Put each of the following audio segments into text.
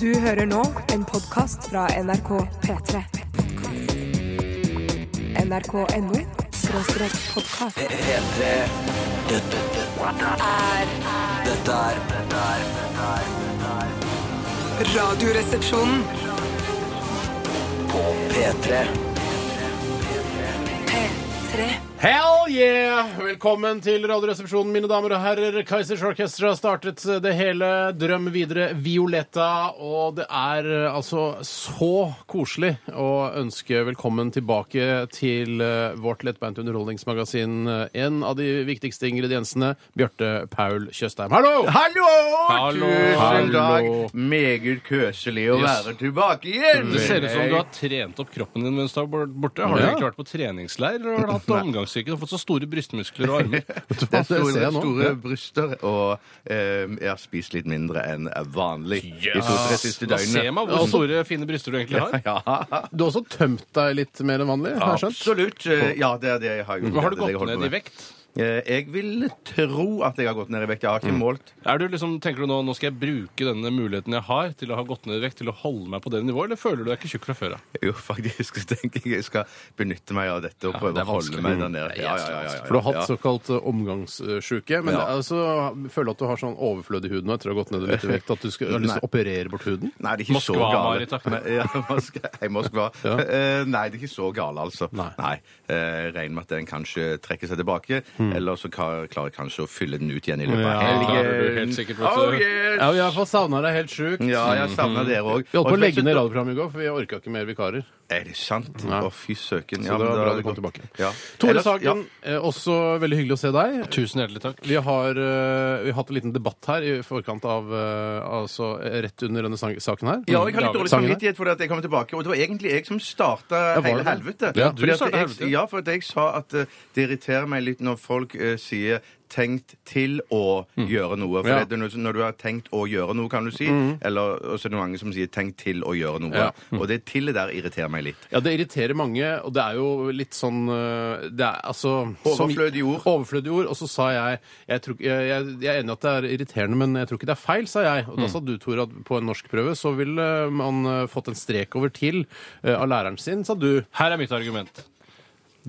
Du hører nå en podkast fra NRK P3. NRK.no skråstrek podkast. P3 Dette er Dette er Dette er Radioresepsjonen. På P3 P3. Hell yeah! Velkommen til Radioresepsjonen, mine damer og herrer. Kaizers Orchestra startet eh, det hele. Drøm videre, Violetta. Og det er eh, altså så koselig å ønske velkommen tilbake til eh, vårt lettbeint underholdningsmagasin. eh, En av de viktigste ingrediensene, Bjarte Paul Tjøstheim. Hallo! Hallo! Hallo! Tusen Hallo. takk. Meget køselig å Yes. være tilbake igjen. Det ser ut som du har trent opp kroppen din mens du har vært borte. Har du Ja. egentlig vært på treningsleir eller har du hatt omgangssyke og fått så store brystmuskler og armer? Det er Hva skal jeg store, se nå? store bryster, og eh, jeg har spist litt mindre enn vanlig de to-tre siste altså- Da ser døgnene. man hvor store, fine bryster du egentlig har. Du har også tømt deg litt mer enn vanlig? har jeg skjønt? Absolutt. eh, Ja, det er det jeg har gjort. Men har du Det er det jeg gått holder på ned i med. vekt? Eh, Jeg vil tro at jeg har gått ned i vekt. Jeg har ikke målt. Er du liksom, tenker du nå, nå skal jeg bruke denne muligheten jeg har til å ha gått ned i vekt, til å holde meg på det nivået, eller føler du deg ikke tjukk fra før av? Jo, faktisk så tenker jeg jeg skal benytte meg av dette og Ja, prøve det å er holde vanskelig. meg der nede. Det er Ja, ja, jævlig ja, ja, ja, For du har ja. hatt såkalt eh, omgangssjuke. Men Ja. altså, føler du at du har sånn overflødig hud nå etter å ha gått ned litt i vekt? At du skal, har lyst til å operere bort huden? Nei, det er ikke Moskva, Marit, så takk. gale. Ja, Moskva. Hei, Moskva. Ja. Eh, Nei, det er ikke så gale, altså. Nei. Eh, Regner med at den kanskje trekker seg tilbake, eller så ka- klarer jeg kanskje å fylle den ut igjen i løpet Hmm. av Ja, helgen. klarer du helt sikkert, vet Oh, du. Ja, yes! vi har fått savna deg helt sjukt. Ja, jeg savner dere òg. Vi holdt på å legge ned radioprogrammet i går, for vi orka ikke mer vikarer. Er det sant? Å, Ja. fy søken. Så det var men da bra er du kom godt. tilbake. Ja. Tore Ellers- ja. Sagen, eh, også veldig hyggelig å se deg. Tusen hjertelig takk. Vi har, eh, vi har hatt en liten debatt her i forkant av eh, altså eh, rett under denne sang- saken her. Ja, og jeg har litt dårlig Sangene. samvittighet for at jeg kom tilbake. Og det var egentlig jeg som starta Ja, var hele det det? helvete. Ja, du Fordi at startet jeg- helvete. Ja, for at jeg sa at eh, det irriterer meg litt når folk eh, sier 'tenkt til å gjøre noe'. Mm. For Ja. Mm. det er noe som- når du har tenkt å gjøre noe, kan du si. Eller også er det mange som sier 'tenkt til å gjøre noe'. Ja. Og det til der irriterer meg litt. Ja, det irriterer mange, og det er jo litt sånn øh, det er, altså, som- Overflødige ord. Overflødige ord. Og så sa jeg jeg, tror, ikke- jeg jeg- jeg er enig i at det er irriterende, men jeg tror ikke det er feil, sa jeg. Og da sa du, Tore, at på en norskprøve så ville man øh, fått en strek over til øh, av læreren sin, sa du. Her er mitt argument.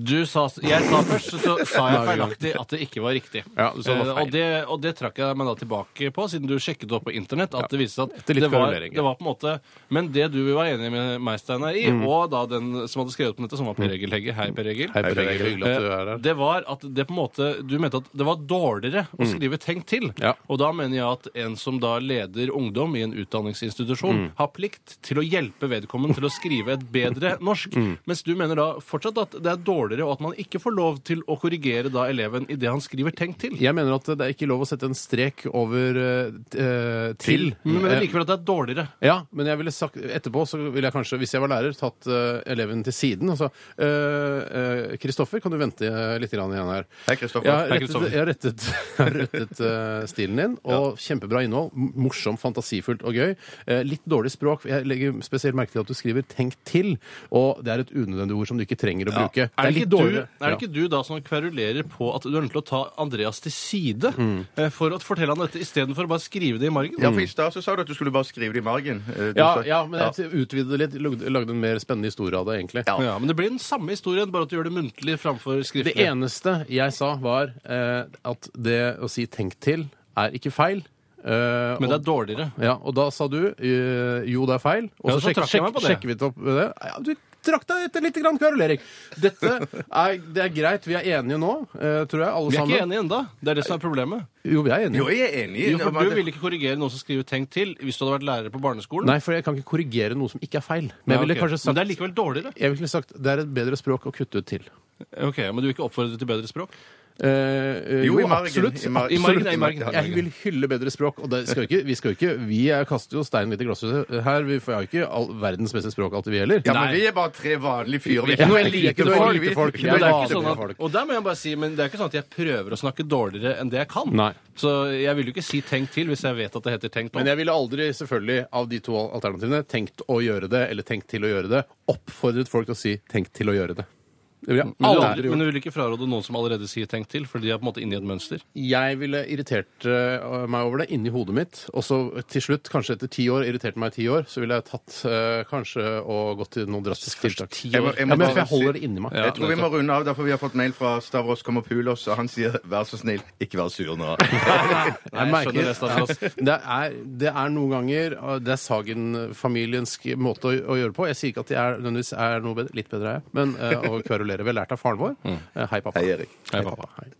Du sa, jeg sa først, så sa jeg feilaktig at det ikke var riktig. Ja, du sa det var feil. Eh, og, det, og det trakk jeg meg da tilbake på, siden du sjekket det opp på internett. At det viste seg at etter litt det var, korrelering, ja. det var på en måte Men det du var enig med meg, Steinar, i, og da den som hadde skrevet på nettet, som var Per Egil Hegge Hei, Per Egil. Mm. Hei, Per Egil, hyggelig at du er her. Eh, Det var at det på en måte Du mente at det var dårligere å skrive 'tenk til'. Mm. Ja. Og da mener jeg at en som da leder ungdom i en utdanningsinstitusjon, har plikt til å hjelpe vedkommende til å skrive et bedre norsk. Mens du mener da fortsatt at det er dårligere, og at man ikke får lov til å korrigere da eleven i det han skriver 'tenk til'. Jeg mener at det er ikke lov å sette en strek over øh, t- øh, til. Men du Eh, mener likevel at det er dårligere. Ja, men jeg ville sagt, etterpå så ville jeg kanskje, hvis jeg var lærer, tatt eh, eleven til siden. Altså, eh, eh, Kristoffer, kan du vente eh, litt grann igjen her? Hei, Kristoffer. Jeg har Hei, rettet, Kristoffer. jeg har rettet, jeg har rettet eh, stilen din, og kjempebra innhold. M- Morsomt, fantasifullt og gøy. Eh, litt dårlig språk. Jeg legger spesielt merke til at du skriver 'tenk til', og det er et unødvendig ord som du ikke trenger å bruke. Er det, litt ikke du, dårligere. er det ikke du da som kverulerer på at du er nødt til å ta Andreas til side eh, for å fortelle han dette, istedenfor å bare skrive det i margen? Ja, for I stad så sa du at du skulle bare skrive det i margen. Eh, du Mm. ja. sa- Ja, ja, men jeg utvidet det litt, lagde- lagde en mer spennende historie av det, egentlig. Ja. men det blir den samme historien, bare at du gjør det muntlig framfor skriftlig. Det eneste jeg sa, var eh, at det å si 'tenk til' er ikke feil. Eh, Men og- det er dårligere. Ja, og da sa du eh, jo, det er feil. Og Ja, så, så sjekk, trakk jeg meg sjekk, på det. sjekker vi det opp med det. Ja, du trakk deg etter litt grann kverulering. Dette er, det er greit. Vi er enige nå, eh, tror jeg, alle Vi er sammen. ikke enige ennå. Det er det som er problemet. Jo, vi er enige. Jo, jeg er enig. Jo, for Men- Du ville ikke korrigere noen som skriver 'tenk til' hvis du hadde vært lærer på barneskolen. Nei, for jeg kan ikke korrigere noe som ikke er feil. Men jeg Ja, ville ok. kanskje Men sagt det er likevel dårligere. jeg ville sagt det er et bedre språk å kutte ut til. Ok, Men du vil ikke oppfordre til bedre språk? Eh, eh, Jo, i margen. absolutt. I mar- I margen, ja, i margen. Absolutt. Jeg vil hylle bedre språk. Og det skal vi ikke, vi skal jo ikke Vi er- kaster jo stein litt i glasshuset her. Vi får- har jo ikke all verdens beste språk alltid, vi heller. Ja, men Nei. vi er bare tre vanlige fyrer. Vi er Ja, ikke noe vi er ikke noe elitefolk. elitefolk. Vi- Ja, Ja, det er vanlige ikke sånn folk. at, og der må jeg bare si, men det er ikke sånn at jeg prøver å snakke dårligere enn det jeg kan. Nei. Så jeg vil jo ikke si 'tenk til' hvis jeg vet at det heter 'tenk Men nå'. jeg ville aldri selvfølgelig av de to alternativene tenkt å gjøre det eller tenkt til å gjøre det. Oppfordret folk til å si 'tenk til å gjøre det'. Det vil jeg Men du, aldri aldri, gjort. men du vil ikke fraråde noen som allerede sier 'tenk til', for de er på en måte inne i et mønster? Jeg ville irritert eh, meg over det inni hodet mitt, og så til slutt, kanskje etter ti år, irritert meg i ti år, så ville jeg tatt eh, kanskje og gått til noen drastiske tiltak. Jeg må- jeg må ja, men bare for jeg holder si- det inni meg. Ja. Jeg tror vi må runde av, derfor vi har fått mail fra Stavros Komopulos, og han sier 'vær så snill, ikke vær sur nå'. Nei, jeg skjønner det, Stavros. det, er, det er noen ganger uh, Det er Sagen-familiens måte å, å gjøre på. Jeg sier ikke at de er, nødvendigvis er noe bedre, litt bedre er jeg, men uh, å kverulere. Vi har lært av faren vår. Mm. Eh, hei, pappa. Hei, Erik. Hei, pappa. Hei.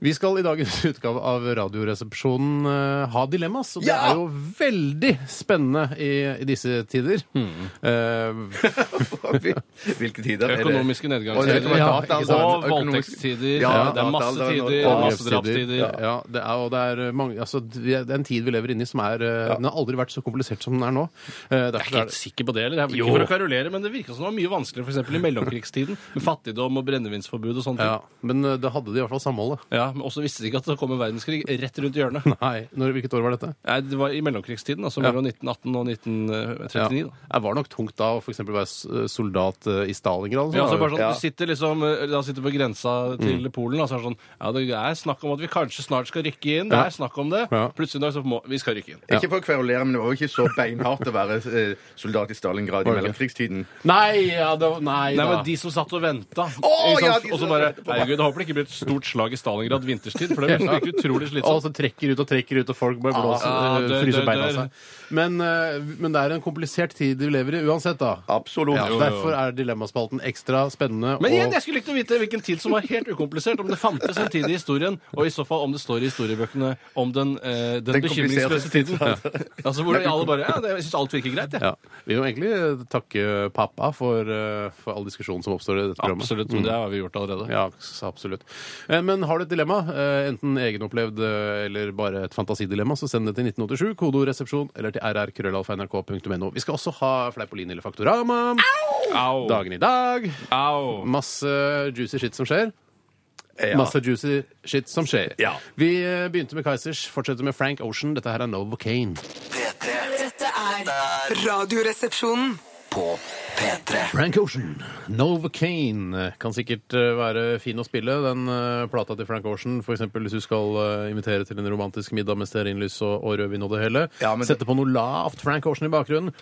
Vi skal i dagens utgave av Radioresepsjonen eh, ha dilemmas, og det Ja! er jo veldig spennende i, i disse tider. Mm. Eh, Hvilke tider er det? Økonomiske Og det er nedgangstider. ikke bare Ja, ikke dataalderen, sant. Og økonomisk- voldtektstider. Ja, altså, det er masse dataalderen og- tider. og- Masse drapstider. Ja, ja, det er, og det er mange altså, Det er en tid vi lever inne i som er eh, Den har aldri vært så komplisert som den er nå. Eh, Jeg er derfor ikke er helt det sikker på det. eller? Jeg er Jo. ikke for å karolere, men Det virka som det var mye vanskeligere for eksempel i mellomkrigstiden. Med fattigdom og brennevinsforbud og sånne ja, ting. Men eh, da hadde de i hvert fall samholdet. Ja, Men også visste de ikke at det kom en verdenskrig rett rundt hjørnet. Nei, når, Hvilket år var dette? Nei, Det var i mellomkrigstiden, altså Ja. mellom 1918 og 1939. da. Det var nok tungt da å for eksempel være s- soldat eh, i Stalingrad. Ja, altså bare sånn, Ja. Du sitter liksom eh, da sitter du på grensa til Mm. Polen, og så er det sånn Ja, det er snakk om at vi kanskje snart skal rykke inn. Det Ja. er snakk om det. Ja. Plutselig en dag så må vi skal rykke inn. Ikke for å kverulere, men det var jo ikke så beinhardt å være eh, soldat i Stalingrad Var i det ikke? mellomkrigstiden. Nei, ja, det, var- nei, Nei, da. men de som satt og venta. ja, de som og så bare ventet på meg. Herregud, jeg håper det ikke blir et stort slag i Stalingrad vinterstid, for det virker utrolig slitsomt. Og sånn, så trekker ut og trekker ut, og folk bare blåser, Ah, eh, dør, fryser dør, beina av dør. seg. Men, eh, men det er en komplisert tid vi lever i uansett, da. Absolutt. Ja, derfor er dilemmaspalten ekstra spennende. Men igjen, og- jeg skulle likt å vite hvilken tid som var helt ukomplisert. Om det fantes en tid i historien, og i så fall om det står i historiebøkene om den, eh, den, Den bekymringsløse kompliserte tiden. Altså hvor alle bare Ja, det, jeg syns alt virker greit, jeg. Ja. Vi vil jo egentlig eh, takke pappa for, eh, for all diskusjonen som oppstår i dette programmet. Absolutt. men Det har vi gjort allerede. Ja, s- absolutt. Eh, Men har du et dilemma, eh, enten egenopplevd eh, eller bare et fantasidilemma, så send det til 1987, kodeord resepsjon, eller til rrkrøllalfa.nrk.no. Vi skal også ha Fleipolin eller Faktorama, Au! dagen i dag, Au! masse juicy shit som skjer. Ja. Masse juicy shit som skjer. Ja. Vi eh, begynte med Kaizers, fortsetter med Frank Ocean. Dette her er Novocaine. P3 Dette er er Radioresepsjonen. på P3. Frank Ocean, Novocaine. Kan sikkert eh, være fin å spille, den eh, plata til Frank Ocean. For eksempel hvis du skal eh, invitere til en romantisk middag med stearinlys og, og rødvin og det hele. Ja, men- Sette på noe lavt Frank Ocean i bakgrunnen.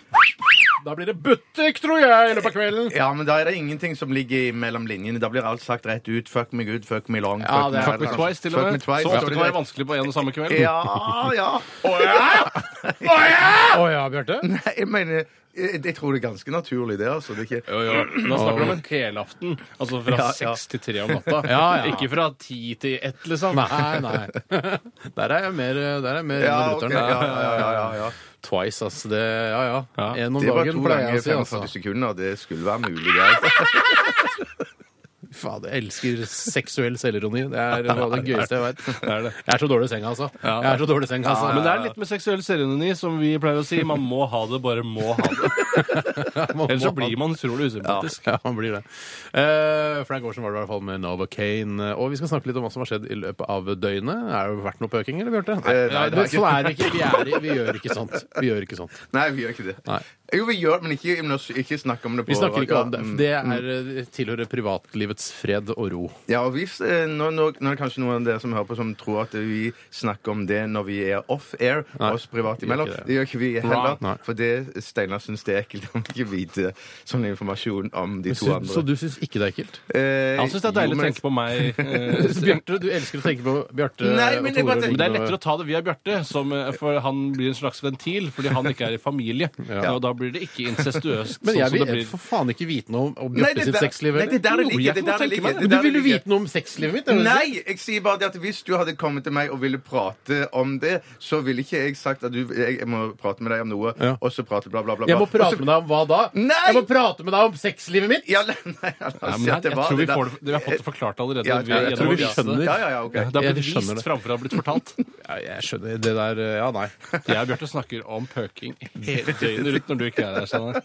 Da blir det butikk, tror jeg, i løpet av kvelden. Ja, men da er det ingenting som ligger i mellom linjene. Da blir alt sagt rett ut. Fuck me good, fuck me long. Ja, det er- Fuck me twice, til og Fuck me med. twice, Så ja. ofte kan det være vanskelig på en og samme kveld. Ja, ja. Å ja, Bjarte. Nei, jeg mener jeg, jeg tror det er ganske naturlig, det. altså. Det er ikke... Jo, jo. Da snakker du om en helaften. Altså fra Ja, ja. seks til tre om natta. Ja, ja. Ikke fra ti til ett, liksom. Nei, nei. Der er jeg mer, der er jeg mer Ja, under ok, brutter'n. ja, ja, ja, ja, ja, ja. Twice, ass. Det, ja, ja. Ja. En om Det var dagen to pleier jeg ganger å si, 45 altså. sekunder. Det skulle være mulig. Det. altså. Fader, jeg elsker seksuell selvironi. Det er noe av det gøyeste jeg vet. Det er det. Jeg er så dårlig i senga, altså. Jeg er så dårlig i senga, altså. Men det er litt med seksuell serieroni, som vi pleier å si. Man må ha det, bare må ha det. Ellers så blir man utrolig usympatisk. Ja, han blir det. Eh, Frank Aarsen var det i hvert fall med Nova Kane. Eh, Og vi skal snakke litt om hva som har skjedd i løpet av døgnet. Er det vært noe pøking, eller, Bjarte? Nei, nei, det har sånn er det ikke. Vi, er, i- vi gjør ikke sånt. Vi gjør ikke sånt. Nei, vi gjør ikke det. Nei. Jo, vi gjør men ikke, men også ikke snakk om det på Vi snakker ikke om det. Ja, mm. Det er, eh, tilhører privatlivets fred og ro. Ja, og hvis eh, nå, nå, nå er det kanskje noen av dere som hører på som tror at vi snakker om det når vi er off-air, Nei, oss privat vi gjør imellom. ikke det. Det gjør ikke vi heller. Nei. For det Steinar syns det er ekkelt om ikke vite sånn informasjon om de to Så, andre. så du syns ikke det er ekkelt? Eh, Han syns det er jo, deilig å men- tenke på meg. eh, Bjarte, du elsker å tenke på Bjarte Nei, men og jeg Tore. bare og tenker- Men det er Ligne og- lettere å ta det via Bjarte, som, eh, for han blir en slags ventil fordi han ikke er i familie. Ja. Og da blir det ikke incestuøst. Men jeg sånn som det vil blir. for faen ikke vite noe om- om Nei, Bjarte det sitt der- sexliv. Nei, eller? det der det Jo, ligger. jeg Det kan der det tenke ligger. meg det det. der Du det vil jo ligger. vite noe om sexlivet mitt. er det du sier? Nei, jeg sier bare det at hvis du hadde kommet til meg og ville prate om det, så ville ikke jeg sagt at du, jeg, jeg må prate med deg om noe, Ja. og så prate bla, bla, bla. bla. Jeg må Og prate så- med deg om hva da? Nei! Jeg må prate med deg om sexlivet mitt! Ja, nei, nei, la oss Nei, si at men jeg, det jeg var tror vi, det får der. det, vi har fått det forklart allerede. Ja, ved- jeg- jeg gjennom tror vi å vise det. skjønner. Ja, ja, ja, ok. Ja, Det er Jeg blitt skjønner det. vist framfor å ha blitt fortalt. Jeg skjønner det der eh, Ja, nei. Jeg og Bjarte snakker om pøking hele døgnet rundt når du ikke er der. Sånn.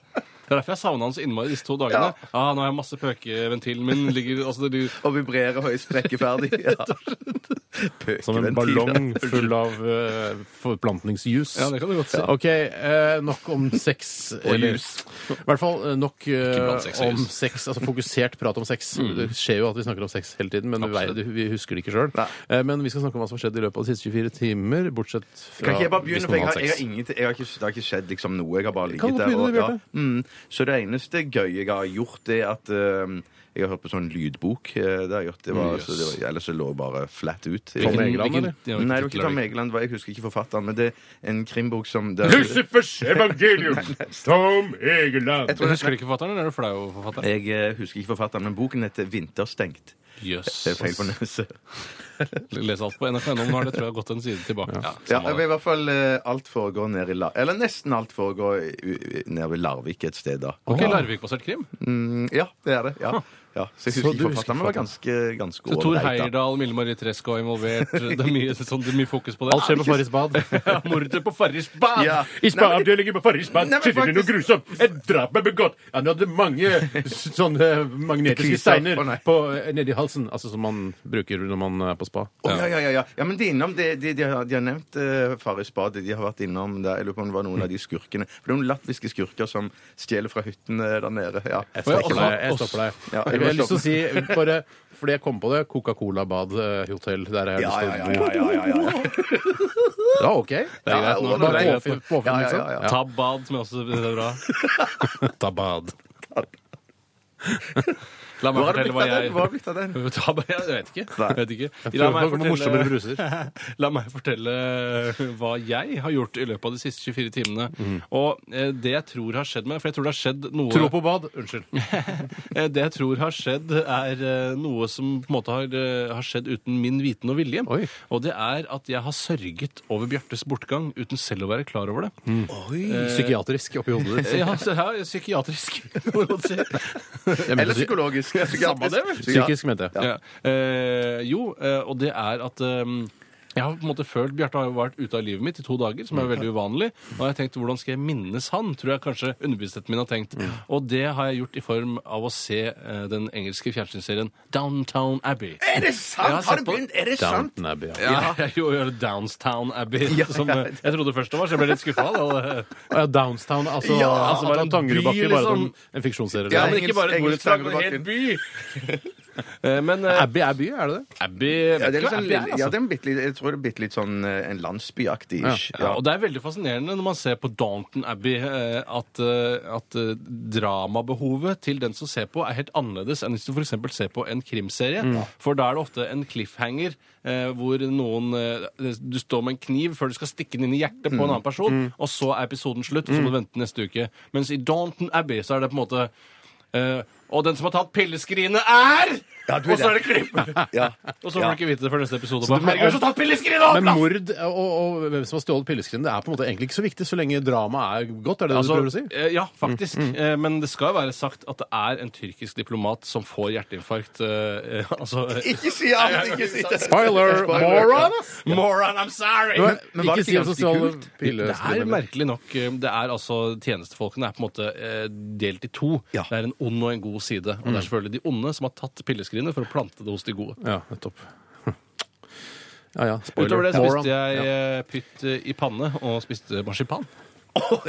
Det er derfor jeg savna han så innmari disse to dagene. Ja. Ah, nå har jeg masse pøkeventilen min ligger altså, det ligger- Og vibrerer og er sprekkeferdig. Ja. Som en ballong full av eh, forplantningsjus. Ja, det kan du godt si. OK, eh, nok om sex. eller- jus. I hvert fall eh, nok eh, blant sex og om jus. Mm. sex. Altså fokusert prat om sex. Det skjer jo at vi snakker om sex hele tiden, men vi, Absolutt. vei- vi husker det ikke sjøl. Men vi skal snakke om hva som har skjedd i løpet av de siste 24 timer, bortsett fra Kan ikke jeg bare hvis begynne, for jeg noen har, har jeg har sex. ingenting jeg har ikke, Det har ikke skjedd liksom noe. Jeg har bare Kan ligget du der. begynne, Og, ja. Bjarte? mm, så det eneste gøye jeg har gjort, det er at eh, jeg har hørt på sånn lydbok. eh, Det har jeg gjort. Det var, Jøs. så det var, ellers så lå jeg bare flat ut. Tom Hvilken- Egeland, hvilken- eller? Ja, hvilken Nei, det var tittel ikke er det? Tom Egeland. det var- Jeg husker ikke forfatteren, men det er en krimbok som der, Lucifers evangelium! Tom Egeland! Jeg tror det- Husker du ikke forfatteren, eller er du flau over forfatteren? Jeg eh, husker ikke forfatteren, men boken heter 'Vinterstengt'. Det er feil på Jøss. neset. Les alt på nrk.no. Nå har det tror jeg gått en side tilbake. Ja, Ja, samme det. men i hvert fall eh, alt foregår nede i Larvik. Eller nesten alt foregår i- u- u- nede ved Larvik et sted, da. Ok, Larvik-basert krim. Mm, ja, det er det. Ja. ja. Så jeg Så du husker ikke husker forfatteren, men var ganske, ganske Så Tor ålreit, da. Heyerdahl, Mille Marie Tresk var involvert. Det er mye, sånn, det er mye fokus på det. Alt skjer på Farris bad. Ja, Mordet på Farris bad! Ja. I Nei, men- spaavdelingen på Farris bad Nei, men skjedde det noe grusomt. Et drap er begått. Han hadde mange s- sånne magnetiske Klyser. steiner Å, nei. på, nedi halsen. Altså som man bruker når man er på spa. Å, ja, ja, ja, ja. ja, men de, er innom, de, de, de, har, de har nevnt uh, Farris Bad. De har vært innom der. Jeg lurer på om det var noen av de skurkene. For det er noen latviske skurker som stjeler fra hyttene der nede. Ja. står stopper deg. Jeg stopper deg. Ja, jeg jeg, har lyst til å stopper. si, bare fordi jeg kom på det, Coca-Cola Bad eh, Hotel. Der er jeg Ja, lyst ja, til å bo. ja, ja, ja, ja, ja. Ja, OK. Det er greit nå. Bare Det er greit påfyll, nå. påfyll, Ja, ja, liksom. ja, ja. Ta bad, som jeg også det er bra. Ta bad. La meg Hva har det fortelle blitt hva av den? Hva har det jeg blitt av den? Ta bad, Jeg vet ikke. Nei. Jeg vet ikke. prøver å komme med morsommere La meg fortelle eh, hva jeg har gjort i løpet av de siste 24 timene. Mm. Og eh, det jeg tror har skjedd meg For jeg tror det har skjedd noe Tro på bad. Unnskyld. Eh, Det jeg tror har skjedd, er eh, noe som på en måte har, eh, har skjedd uten min viten og vilje. Oi. Og det er at jeg har sørget over Bjartes bortgang uten selv å være klar over det. Eh, Eh, Psykiatrisk oppi hodet ditt. Ja, så her, psykiatrisk, må man si. Jeg Eller mente psy- psykologisk. Samme det, vel? Psykisk, mente jeg. Ja. Eh, jo, eh, og det er at eh, jeg har på en måte følt, Bjarte har jo vært ute av livet mitt i to dager, som er veldig uvanlig. Og jeg har tenkt, hvordan skal jeg minnes han? Tror jeg kanskje underbevisstheten min har tenkt. Og det har jeg gjort i form av å se eh, den engelske fjernsynsserien Downtown Abbey. Er det Jeg sant? har sett Har det på- begynt? Er det sant? Downton Abbey. Ja. Ja, jeg gjorde Downstown Abbey, som eh, jeg trodde først det eh, var, så jeg ble litt skuffa. altså, Å ja, Downstown, altså, Ja, altså bare at en han byr, Tangerudbakke, bare som liksom. en fiksjonsserie. Ja, men men ikke bare et borettslag, men en hel Eh, Men Abbey er by, er det det? Abbey Ja, det er, liksom, Abbey er, ja, altså. det er en bitte litt, jeg tror det er bitte litt sånn eh, en landsbyaktig ish. Ja, og det er veldig fascinerende når man ser på Downton Abbey eh, at, eh, at eh, dramabehovet til den som ser på, er helt annerledes enn hvis du f.eks. ser på en krimserie. For da er det ofte en cliffhanger eh, hvor noen eh, Du står med en kniv før du skal stikke den inn i hjertet på en annen person, og så er episoden slutt, og så må du vente neste uke. Mens i Downton Abbey så er det på en måte eh, og den som har tatt pilleskrinet, er du er Og så er det. det klipp! Ja. Og så får du ikke vite det før neste episode. du Bare, merker- "Herregud, så tatt pilleskrinet opp, Men da!" mord og, og hvem som har stjålet pilleskrinet, det er på en måte egentlig ikke så viktig så lenge dramaet er godt, er det det Altså, du prøver å si? Mm, eh, Ja, faktisk. Eh, Men det skal jo være sagt at det er en tyrkisk diplomat som får hjerteinfarkt. eh, eh, altså eh, Ikke si alt! Ikke si det. Spoiler! Moron! ass! Moron, I'm sorry! Men, men var ikke det si ikke at ganske sosiale kult? det er pilleskrinet merkelig nok eh, Det er altså Tjenestefolkene er på en måte eh, delt i to. Ja. Det er en ond og en god side. Og det er selvfølgelig de onde som har tatt pilleskrinet for å plante det hos de gode. Mm. Ja, nettopp. Ja, ja. Spoiler. Utover det Moron. spiste jeg ja. eh, pytt eh, i panne og spiste marsipan. for,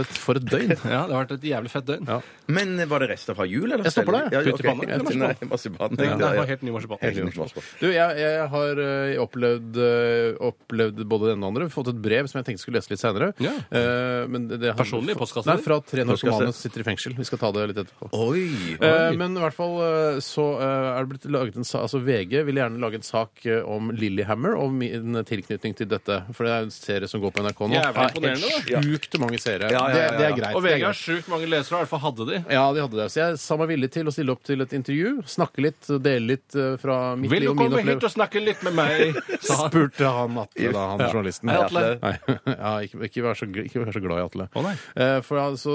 et, for et døgn. Ja, Det har vært et jævlig fett døgn. Ja. Men var det rester fra jul? Eller? Jeg stopper der, jeg. Ja, ok. Putt i panna, eller marsipan? Nei, marsipan, Ja, tenkte jeg, det var ja. helt ny marsipan. Helt ny marsipan. Du, jeg, jeg har eh, opplevd, eh, opplevd både det ene og det andre. Fått et brev som jeg tenkte skulle lese litt senere. Ja. Eh, men det, det har- Personlig i postkassen Nei, din? fra tre narkomane Postkasse. som sitter i fengsel. Vi skal ta det litt etterpå. Oi! Eh, men i hvert fall eh, så eh, er det blitt laget en sa- Altså VG vil gjerne lage en sak eh, om Lillehammer og min tilknytning til dette. For det er en serie som går på NRK nå. Jævlig Det er imponerende, da. helt Sjukt mange seere. Ja, ja, ja, Det, det er ja. greit. Og det er VG har greit. sjukt mange lesere, og i hvert fall hadde de. Ja, de hadde det. Så jeg sa meg villig til å stille opp til et intervju. Snakke litt, dele litt eh, fra mitt Vil liv du og min komme hit opplevelse. og snakke litt med meg? sa han. Spurte han Atle, da, han journalisten. Hei, Atle. Nei, ja, ikke, ikke, vær så, gl- ikke vær så glad i Atle. Å, nei. eh, for han så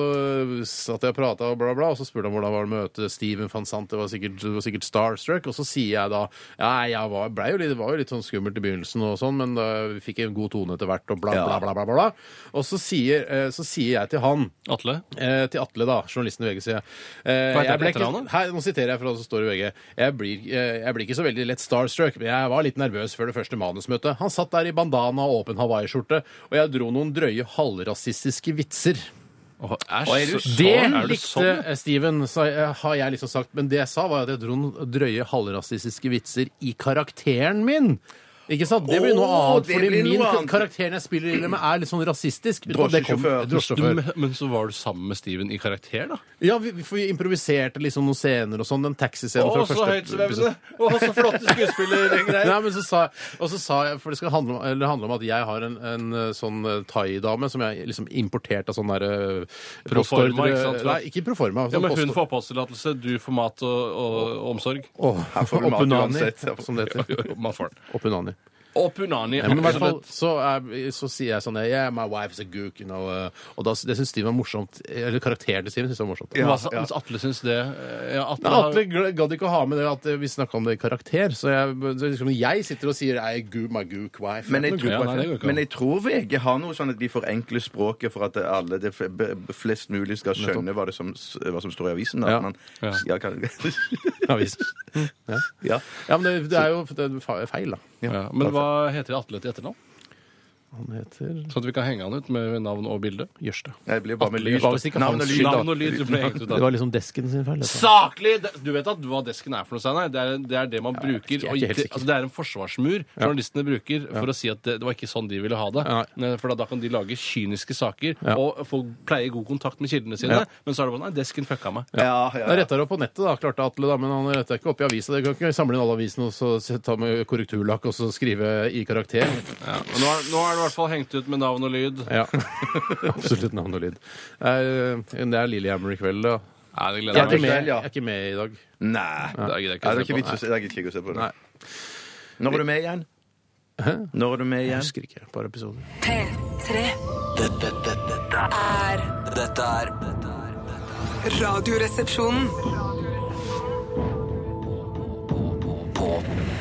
satt jeg og prata, og bla, bla, og så spurte han hvordan var det å møte Steven van Sant. Det var sikkert, det var sikkert starstruck. Og så sier jeg da ja, jeg var, ble jo litt, det var jo litt sånn skummelt i begynnelsen, og sånn, men da vi fikk en god tone etter hvert, og bla, bla, bla. bla, bla, bla. Og så sier sier, eh, så sier jeg til han Atle? Eh, til Atle, da, journalisten i VG, sier jeg. Eh, Hva jeg ble heter han etter ikke- han, da? Her, nå siterer jeg fra det som står i VG. Jeg blir, eh, jeg blir ikke så veldig lett starstruck, men jeg var litt nervøs før det første manusmøtet. Han satt der i bandana og åpen hawaiiskjorte, og jeg dro noen drøye halvrasistiske vitser. Åh, æsj. Å, er du så- sånn? Det Er du likte sånn? eh, Steven, sa, jeg- har jeg liksom sagt. Men det jeg sa, var at jeg dro noen drøye halvrasistiske vitser i karakteren min. Ikke sant? Det blir noe Åh, annet, det fordi blir noe min annet. karakteren jeg spiller i det med, er litt sånn rasistisk. uten at det kom- Drosjesjåfør. Du, Drosjesjåfør. men- men så var du sammen med Steven i karakter, da? Ja, vi, vi- for vi improviserte liksom noen scener og sånn. Den taxiscenen fra første episode. Å, så flotte skuespillergreier! Nei, men så sa, jeg- og så sa jeg, for det skal handle om, eller det handler om at jeg har en, en eh, sånn eh, thai-dame som jeg liksom importerte av sånn derre Proforma, ikke sant? Nei, ikke sånn proforma. Ja, men hun postor- får oppholdstillatelse, du får mat og, og, og omsorg. Åh, får du mat Oppunani, uansett. som det heter. Man får den. Oppunani. Og punani. Ja, men i hvert fall så, er, så sier jeg sånn Yeah, my wife's a gook, you know. eh, Og da, det syns Steven var morsomt. Eller karakteren til Steven syns det var morsomt. Hva sa- mens Atle syns det ja, Atle, Nei, har- Atle gl- gadd ikke å ha med det at eh, vi snakka om det i karakter. Så jeg, så liksom, jeg sitter og sier I goo my gook wife. Men jeg, tror, Ja, nei, det går ikke an. men jeg tror VG har noe sånn at de forenkler språket for at alle det f- b- b- flest mulig skal skjønne hva, det som, s- hva som står i avisen. Da. Ja. At Man, Ja. ja, kan, Ja, visst. ja. ja. ja, men det, det er jo det er fa- feil, da. ja, Men hva heter Atle til etternavn? Han heter Sånn at vi kan henge han ut med navn og bilde. Jørstad. Jeg blir bare med Atle lyd. var visst ikke Navn hans og lyd, skyld, da. Navn og lyd ble hengt ut Det av. var liksom desken sin feil. dette. Saklig! Det- Du vet at hva desken er for noe, Steinar? Det, er- det er det man jeg bruker. er og ikke helt ikke- sikker. altså, det er en forsvarsmur journalistene bruker for å si at det, det var ikke sånn de ville ha det. Nei. Ne, For da, da kan de lage kyniske saker Ja. og folk pleier god kontakt med kildene sine. Ja. Men så er det bare Nei, desken fucka meg. Ja, ja, Jeg ja. retta det opp på nettet, da, klarte Atle, da, men han retta ikke opp i avisa. Du kan ikke samle inn alle avisene og så se- ta med korrekturlakk og så skrive i karakter. Ja. Men Nå, er, nå er det i hvert fall hengt ut med navn og lyd. Ja. Absolutt navn og lyd. Det er, det er Lillehammer i kveld, da. Nei, det Jeg er ikke gleder jeg meg. med, kveld, ja. jeg er ikke med i dag. Nei. Det Nei, gidder jeg Det er ikke ikke å vits å se på. se- det er ikke å se på det. Nei. Når var du med igjen? Når er du med Jeg igjen? husker ikke. Bare episoden. P3 Dette, dette, dette, er- er dette er dette er- Radioresepsjonen. På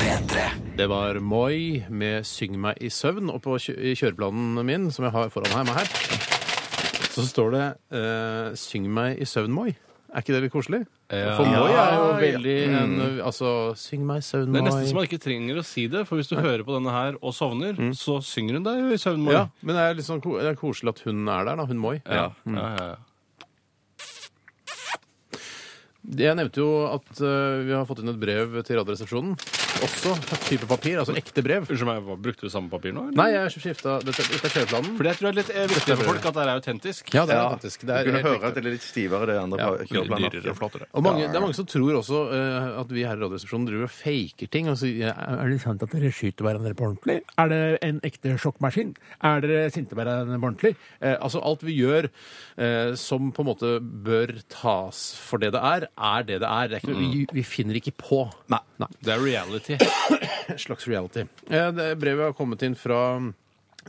P3 Det var Moi med 'Syng meg i søvn', og på kjø i kjøreplanen min, som jeg har foran her, meg her, så står det eh, 'Syng meg i søvn, Moi'. Er ikke det litt koselig? For Moi er jo veldig en, Altså 'Syng meg i søvn, Det Moi'. er nesten så man ikke trenger å si det, for hvis du hører på denne her og sovner, så synger hun deg jo i søvn. Mari. Mm. ja, men det er litt sånn ko det er koselig at hun er der, da. Hun Moi. Ja. Ja, ja, Mm. ja. Jeg nevnte jo at eh, vi har fått inn et brev til Radioresepsjonen. Også type papir, altså ekte brev. Unnskyld meg, hva- brukte du samme papir nå? eller? Nei, jeg skifta Dette dette er kjøreplanen. Fordi jeg tror det er litt eh, viktig for folk at det er autentisk. Ja, det er Ja. faktisk. Du Det er kunne helt høre riktig. at det er litt stivere, det andre Ja, pa- kjøreplaner. Dyrere og flottere. Og mange, Det er mange som tror også eh, at vi her i Radioresepsjonen driver og faker ting. Og sier, «Ja, Er det sant at dere skyter hverandre på ordentlig? Er det en ekte sjokkmaskin? Er dere sinte på hverandre på ordentlig? eh, altså alt vi gjør eh, som på en måte bør tas for det det er, er det det er. Det er ikke, noe- vi, Mm. vi finner ikke på. Nei. Det er reality. En slags reality. Eh, det brevet har kommet inn fra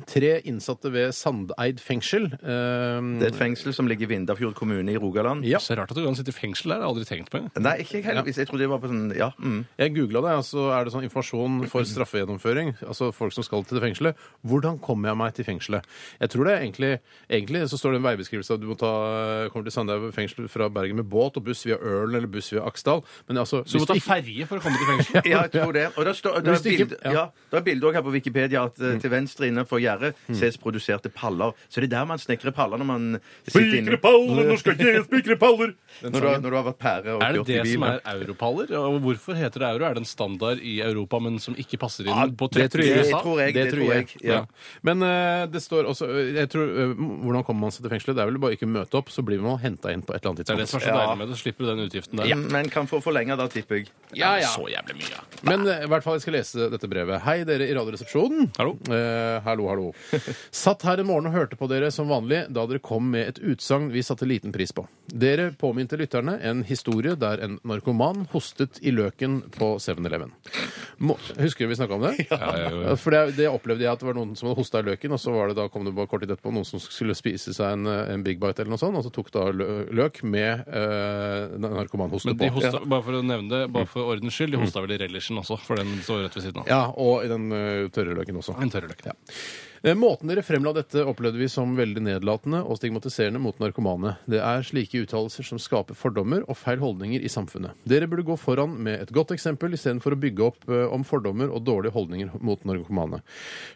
tre innsatte ved Sandeid fengsel. Det Eh, er et fengsel som ligger i Vindafjord kommune i Rogaland. Ja. Så rart at du kan sitte i fengsel der. Det har jeg aldri tenkt på. Nei, ikke heldigvis. Jeg trodde det var på sånn Ja. Mm. jeg googla det, og så er det sånn informasjon for straffegjennomføring. Altså folk som skal til det fengselet. Hvordan kommer jeg meg til fengselet? Jeg tror det er egentlig Egentlig så står det en veibeskrivelse at du må ta, kommer til Sandeid fengsel fra Bergen med båt og buss via Ølen eller buss via Aksdal. Men altså Så hvis du må ta det ikke- ferje for å komme til fengsel. Ja, jeg tror det. Og der, står, der, Hvis er det ikke- bilde, ja. Mm. ja. der er bilde også her på Wikipedia at eh, til venstre innenfor gjerdet ses produserte paller. Så det er der man snekrer paller når man sitter inne paller, nå skal jeg spikre paller! når du, har- når du har vært pære og Er det kjørt i det som bilen. er europaller? Og hvorfor heter det euro? Er det en standard i Europa, men som ikke passer inn Ja, på det tror 30 jeg. i Det USA? tror jeg. Det tror jeg. Ja. Ja. Men eh, det står også eh, jeg tror, eh, Hvordan kommer man seg til fengselet? Det er vel bare ikke møte opp, så blir man henta inn på et eller annet Det er det tidspunkt. som er så Ja. deilig med det. Så slipper du den utgiften der. Men kan få forlenga da, tipper jeg. Ja, ja. Så jævlig mye. ja. Men eh, i hvert fall jeg skal lese dette brevet. Hei, dere i Radioresepsjonen. Hallo. Eh, hallo, hallo. Satt her en morgen og hørte på dere som vanlig da dere kom med et utsagn vi satte liten pris på. Dere påminte lytterne en historie der en narkoman hostet i løken på 7-Eleven. Må- Husker du vi snakka om det? ja, ja. Ja, For det, det opplevde jeg at det var noen som hadde hosta i løken, og så var det da, kom det bare kort tid etterpå noen som skulle spise seg en, eh, en Big Bite eller noe sånt, og så tok da lø løk med eh, narkomanhoste Men de på. hosta, bare for å nevne det, Mm. bare for ordens skyld, de hosta vel i relishen også, for den står rett ved siden av. Ja, og i den eh, tørre løken også. En tørrløk. Ja. Eh, Måten dere fremla dette opplevde vi som veldig nedlatende og stigmatiserende mot narkomane. Det er slike uttalelser som skaper fordommer og feil holdninger i samfunnet. Dere burde gå foran med et godt eksempel istedenfor å bygge opp eh, om fordommer og dårlige holdninger mot narkomane.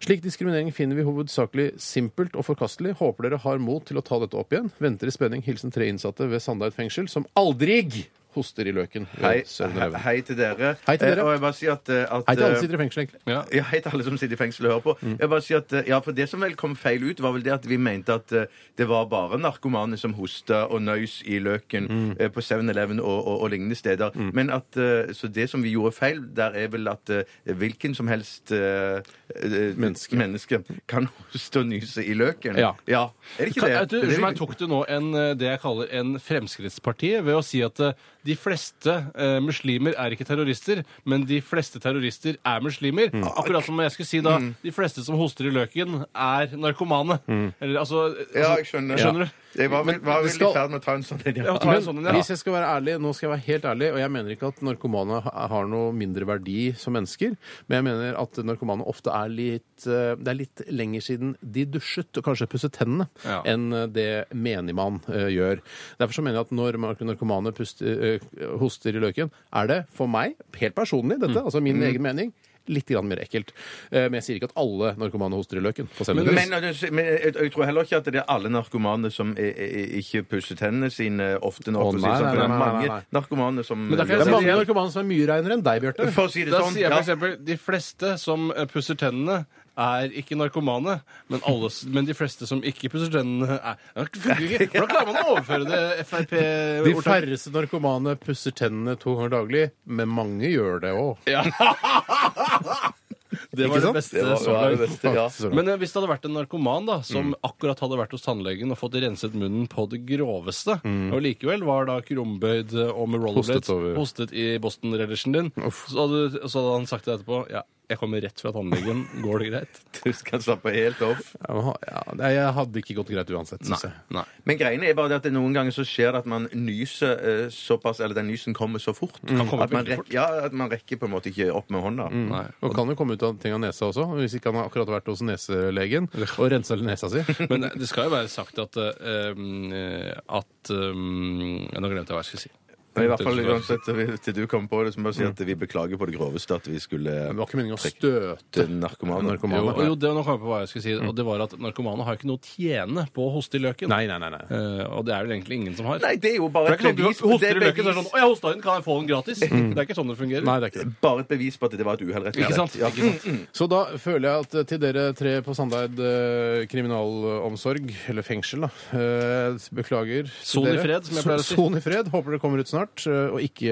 Slik diskriminering finner vi hovedsakelig simpelt og forkastelig. Håper dere har mot til å ta dette opp igjen. Venter i spenning. Hilsen tre innsatte ved Sandeid fengsel som aldrig hoster i løken. ved Hei, 7-Eleven. hei til dere. Hei til dere. Eh, Og jeg bare sier at, eh, at Hei til alle eh, som sitter i fengsel, egentlig. Ja. Mm. Ja, helt alle som sitter i fengsel og hører på. Jeg bare sier at, eh, ja, for Det som vel kom feil ut, var vel det at vi mente at eh, det var bare narkomane som hosta og nøys i løken Mm. eh, på 7-Eleven og, og, og lignende steder. Men at, eh, Så det som vi gjorde feil, der er vel at eh, hvilken som helst eh, eh, Menneske. menneske kan hoste og nyse i løken. Ja. Er det ikke det? Kan, vet du, Det er unnskyld meg, det vi- tok du nå en, eh, det jeg kaller en Fremskrittspartiet ved å si at eh, de fleste eh, muslimer er ikke terrorister, men de fleste terrorister er muslimer. Mm. Akkurat som jeg skulle si da, de fleste som hoster i løken er narkomane. Eller altså, Mm. ja, altså, jeg skjønner. Skjønner du? Jeg var, vel- var det vel skal- i ferd med å ta en sånn en. Ja, ta en Men sånn en, ja. hvis jeg skal være ærlig, nå skal jeg være helt ærlig, og jeg mener ikke at narkomane ha- har noe mindre verdi som mennesker, men jeg mener at narkomane ofte er litt eh, Det er litt lenger siden de dusjet og kanskje pusset tennene Ja. enn eh, det menigmann eh, gjør. Derfor så mener jeg at når mar- narkomane puster, eh, hoster i løken, er det for meg, helt personlig dette, altså min egen mening, litt grann mer ekkelt. Eh, Men jeg sier ikke at alle narkomane hoster i løken. På men, Men, altså, men jeg, jeg tror heller ikke at det er alle narkomane som er, er, ikke pusser tennene sine ofte nok. Å, for å si nei, det sånn, for nei, det er nei, nei, mange nei. narkomane som det er jeg mange sier- narkomane som er mye reinere enn deg, Bjarte. For å si det Da sånn. sier jeg ja. for eksempel de fleste som eh, pusser tennene er ikke narkomane, men, alle, s- men de fleste som ikke pusser tennene er Det funker ikke! Hvordan klarer man å overføre det De Frp-ordtaket? færreste narkomane pusser tennene to ganger daglig, men mange gjør det òg. Det Ikke var det sant? beste Det var- så var Mm. det langt. beste, ja. Men eh, hvis det hadde vært en narkoman da, som akkurat hadde vært hos tannlegen og fått renset munnen på det groveste, Mm. og likevel var da krumbøyd eh, og med rollerblades Hostet over. hostet i Boston-relisjen din, så hadde, så hadde han sagt det etterpå. Ja, jeg kommer rett fra tannlegen. Går det greit? Du skal slappe helt off. jeg hadde ikke gått greit uansett, syns jeg. Nei. Men greiene er bare det at det noen ganger så skjer det at man nyser eh, såpass Eller den nysen kommer så fort. Mm. komme at, man veldig Mm. rekker, ja, at man rekker på en måte ikke opp med hånda. Nei. Og kan jo komme ut av ting av nesa også, hvis ikke han har akkurat vært hos neselegen og rensa nesa si. Men det skal jo være sagt at eh, eh, At eh, ja, Nå glemte jeg hva jeg skulle si. Men i hvert fall uansett eh, til du kommer på det, så må jeg si at Mm. vi beklager på det groveste at vi skulle Det var ikke meningen å støte til narkomane. narkomane. Jo, jo, det, nå kom jeg på hva jeg skulle si, og det var at narkomane har ikke noe å tjene på å hoste i løken. Nei, nei, nei. nei. Eh, og det er vel egentlig ingen som har. Nei, det er jo bare For det et er ikke sånn at bevis du hoster i det er løken, så er det sånn bevis- Å, jeg hosta den, kan jeg få den gratis? Det er ikke sånn det fungerer. Nei, det er ikke det. Bare et bevis på at det var et uhell, rett og Ikke sant? slett. Ja. Ikke sant? Så da føler jeg at eh, til dere tre på Sandeid eh, kriminalomsorg, eller fengsel, da eh, Beklager. til Son i dere. fred, som jeg pleier å si. Son i fred. Håper dere kommer ut snart, eh, og ikke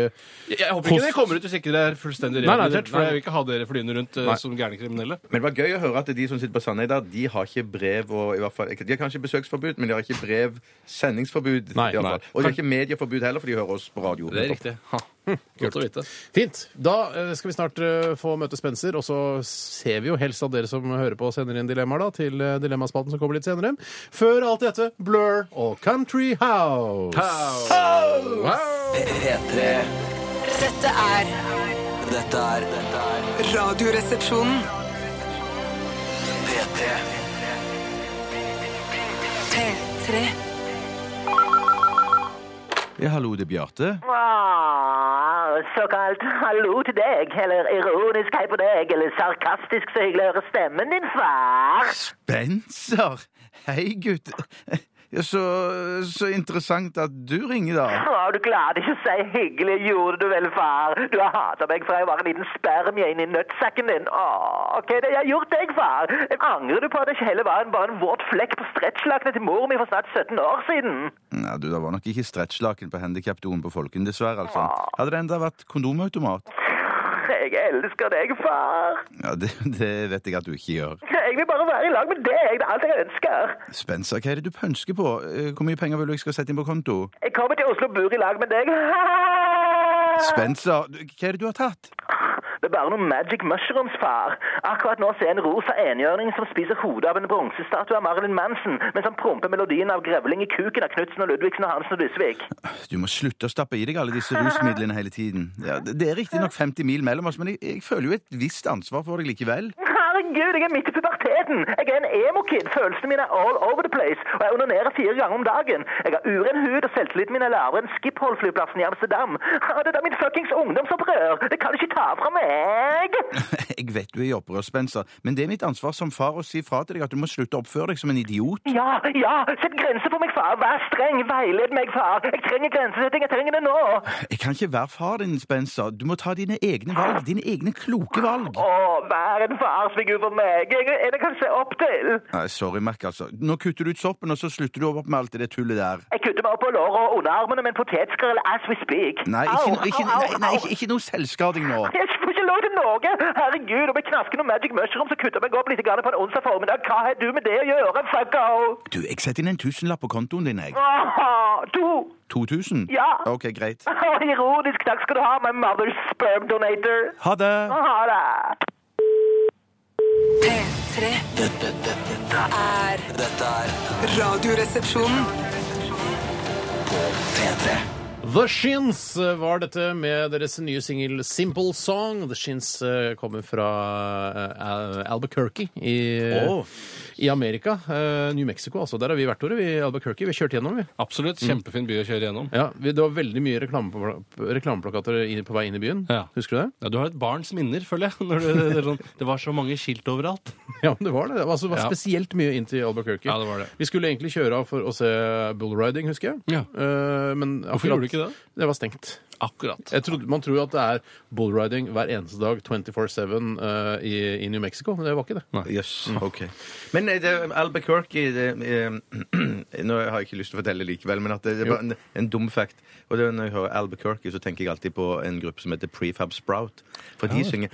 Jeg, jeg håper ikke det kommer ut hvis ikke dere er fullstendig Nei, nei, rehabilitert, det- for nei. jeg vil ikke ha dere flyende rundt eh, Nei. som gærne kriminelle. Men det var gøy å høre at de som sitter på Sandøy der, de har ikke brev og i hvert fall, De har kanskje besøksforbud, men de har ikke brev sendingsforbud. Nei, i hvert nei. fall. Og de har ikke medieforbud heller, for de hører oss på radio. Det er riktig. Ha. Godt å vite. Fint. Da eh, skal vi snart eh, få møte Spencer, og så ser vi jo helst at dere som hører på, sender inn dilemmaer da, til eh, Dilemmaspalten som kommer litt senere. Før alt dette, Blur og Country House. P3. Dette er Dette er dette er Radioresepsjonen. P3. P3. Ja, hallo, det er Bjarte. Ah, såkalt hallo til deg, eller ironisk hei på deg, eller sarkastisk så hyggelig å høre stemmen din, far. Spencer! Hei, gutt. Ja, så, så interessant at du ringer, da. Å, du klarte ikke å si hyggelig, gjorde du vel, far? Du har hatet meg fra jeg var en liten spermie inn i nøttsakken din. Å, ok, det har jeg gjort deg, far. Angrer du på at det ikke heller var en, bare en våt flekk på stretchlakene til mor mi for snart 17 år siden? Nei, du, Det var nok ikke stretchlaken på handikapdoen på Folken, dessverre. altså. Hadde det enda vært kondomautomat? Jeg elsker deg, far. Ja, det, det vet jeg at du ikke gjør. Jeg vil bare være i lag med deg, det er alt jeg ønsker. Spencer, hva er det du pønsker på? Eh, Hvor mye penger vil du jeg skal sette inn på konto? Jeg kommer til Oslo og bor i lag med deg. Spencer, du- hva er det du har tatt? Det er bare noen magic mushrooms, far. Akkurat nå ser jeg en rosa enhjørning som spiser hodet av en bronsestatue av Marilyn Manson, men som promper melodien av grevling i kuken av Knutsen og Ludvigsen og Hansen og Dusvik. Du må slutte å stappe i deg alle disse rusmidlene hele tiden. Ja, det det er riktignok 50 mil mellom oss, men jeg, jeg føler jo et visst ansvar for deg likevel. Herregud, jeg er midt i puberteten! Jeg er en emo-kid. Følelsene mine er all over the place. Og jeg onanerer fire ganger om dagen. Jeg har uren hud, og selvtilliten min er lavere enn Schiphol-flyplassen i Amsterdam. Ah, Det er mitt fuckings ungdomsopprør! Det kan du ikke ta fra meg! Jeg vet du er i opprør, Spencer, men det er mitt ansvar som far å si fra til deg at du må slutte å oppføre deg som en idiot. Ja, ja! Sett grenser for meg, far! Vær streng! Veiled meg, far! Jeg trenger grensesetting! Jeg trenger det nå! Jeg kan ikke være far din, Spencer. Du må ta dine egne valg. Dine egne kloke valg. Å, vær en farsfigur for meg! Jeg er en jeg kan se opp til! Nei, sorry, Mac, altså. Nå kutter du ut soppen, og så slutter du opp med alt det der tullet der. Jeg kutter meg opp på låret og underarmene med en potetskrell as we speak. Nei, Au, ikke, no- ikke, au, au, nei, nei, au. ikke, ikke noe selvskading nå. Jeg får ikke lov til noe! Herregud, om jeg knasker noen magic mushrooms og kutter meg opp litt grann på en onsdag formiddag, hva har du med det å gjøre, fucko? Du, jeg setter inn en tusenlapp på kontoen din, jeg. Åh, Du! 2000? Ja. Ok, greit. Åh, Ironisk, takk skal du ha, my mother's sperm donator. Ha det. Ha det! P3. Dette, dette, dette, Er dette er Radioresepsjonen. P3. The Shins eh, var dette med deres nye singel Simple Song. The Shins eh, kommer fra eh, Al- Albuquerque i, Åh. i Amerika. Eh, New Mexico, altså. Der har vi vært, Tore. Vi i Albuquerque. Vi har kjørt gjennom, vi. Absolutt. Kjempefin by å kjøre gjennom. Ja, vi, Det var veldig mye reklamepla- reklameplakater i- på vei inn i byen. Ja. Husker du det? Ja, du har et barns minner, føler jeg. Når du, det, er sånn, det var så mange skilt overalt. Ja, men det var det. Det var, altså, det var Ja. spesielt mye inn til Albuquerque. Ja, det var det. Vi skulle egentlig kjøre av for å se bullriding, husker jeg. Ja. Eh, men Hvorfor gjorde du ikke det? Det var stengt. Akkurat. Jeg trodde, man tror jo at det er bullriding hver eneste dag 24-7 eh, i, i New Mexico, men det var ikke det. Jøss, ok. Men eh, det, Albuquerque det, eh, Nå har jeg ikke lyst til å fortelle likevel, men at det, det var en, en dum fact. Og det, er Når jeg hører Albuquerque, så tenker jeg alltid på en gruppe som heter Prefab Sprout. For de synger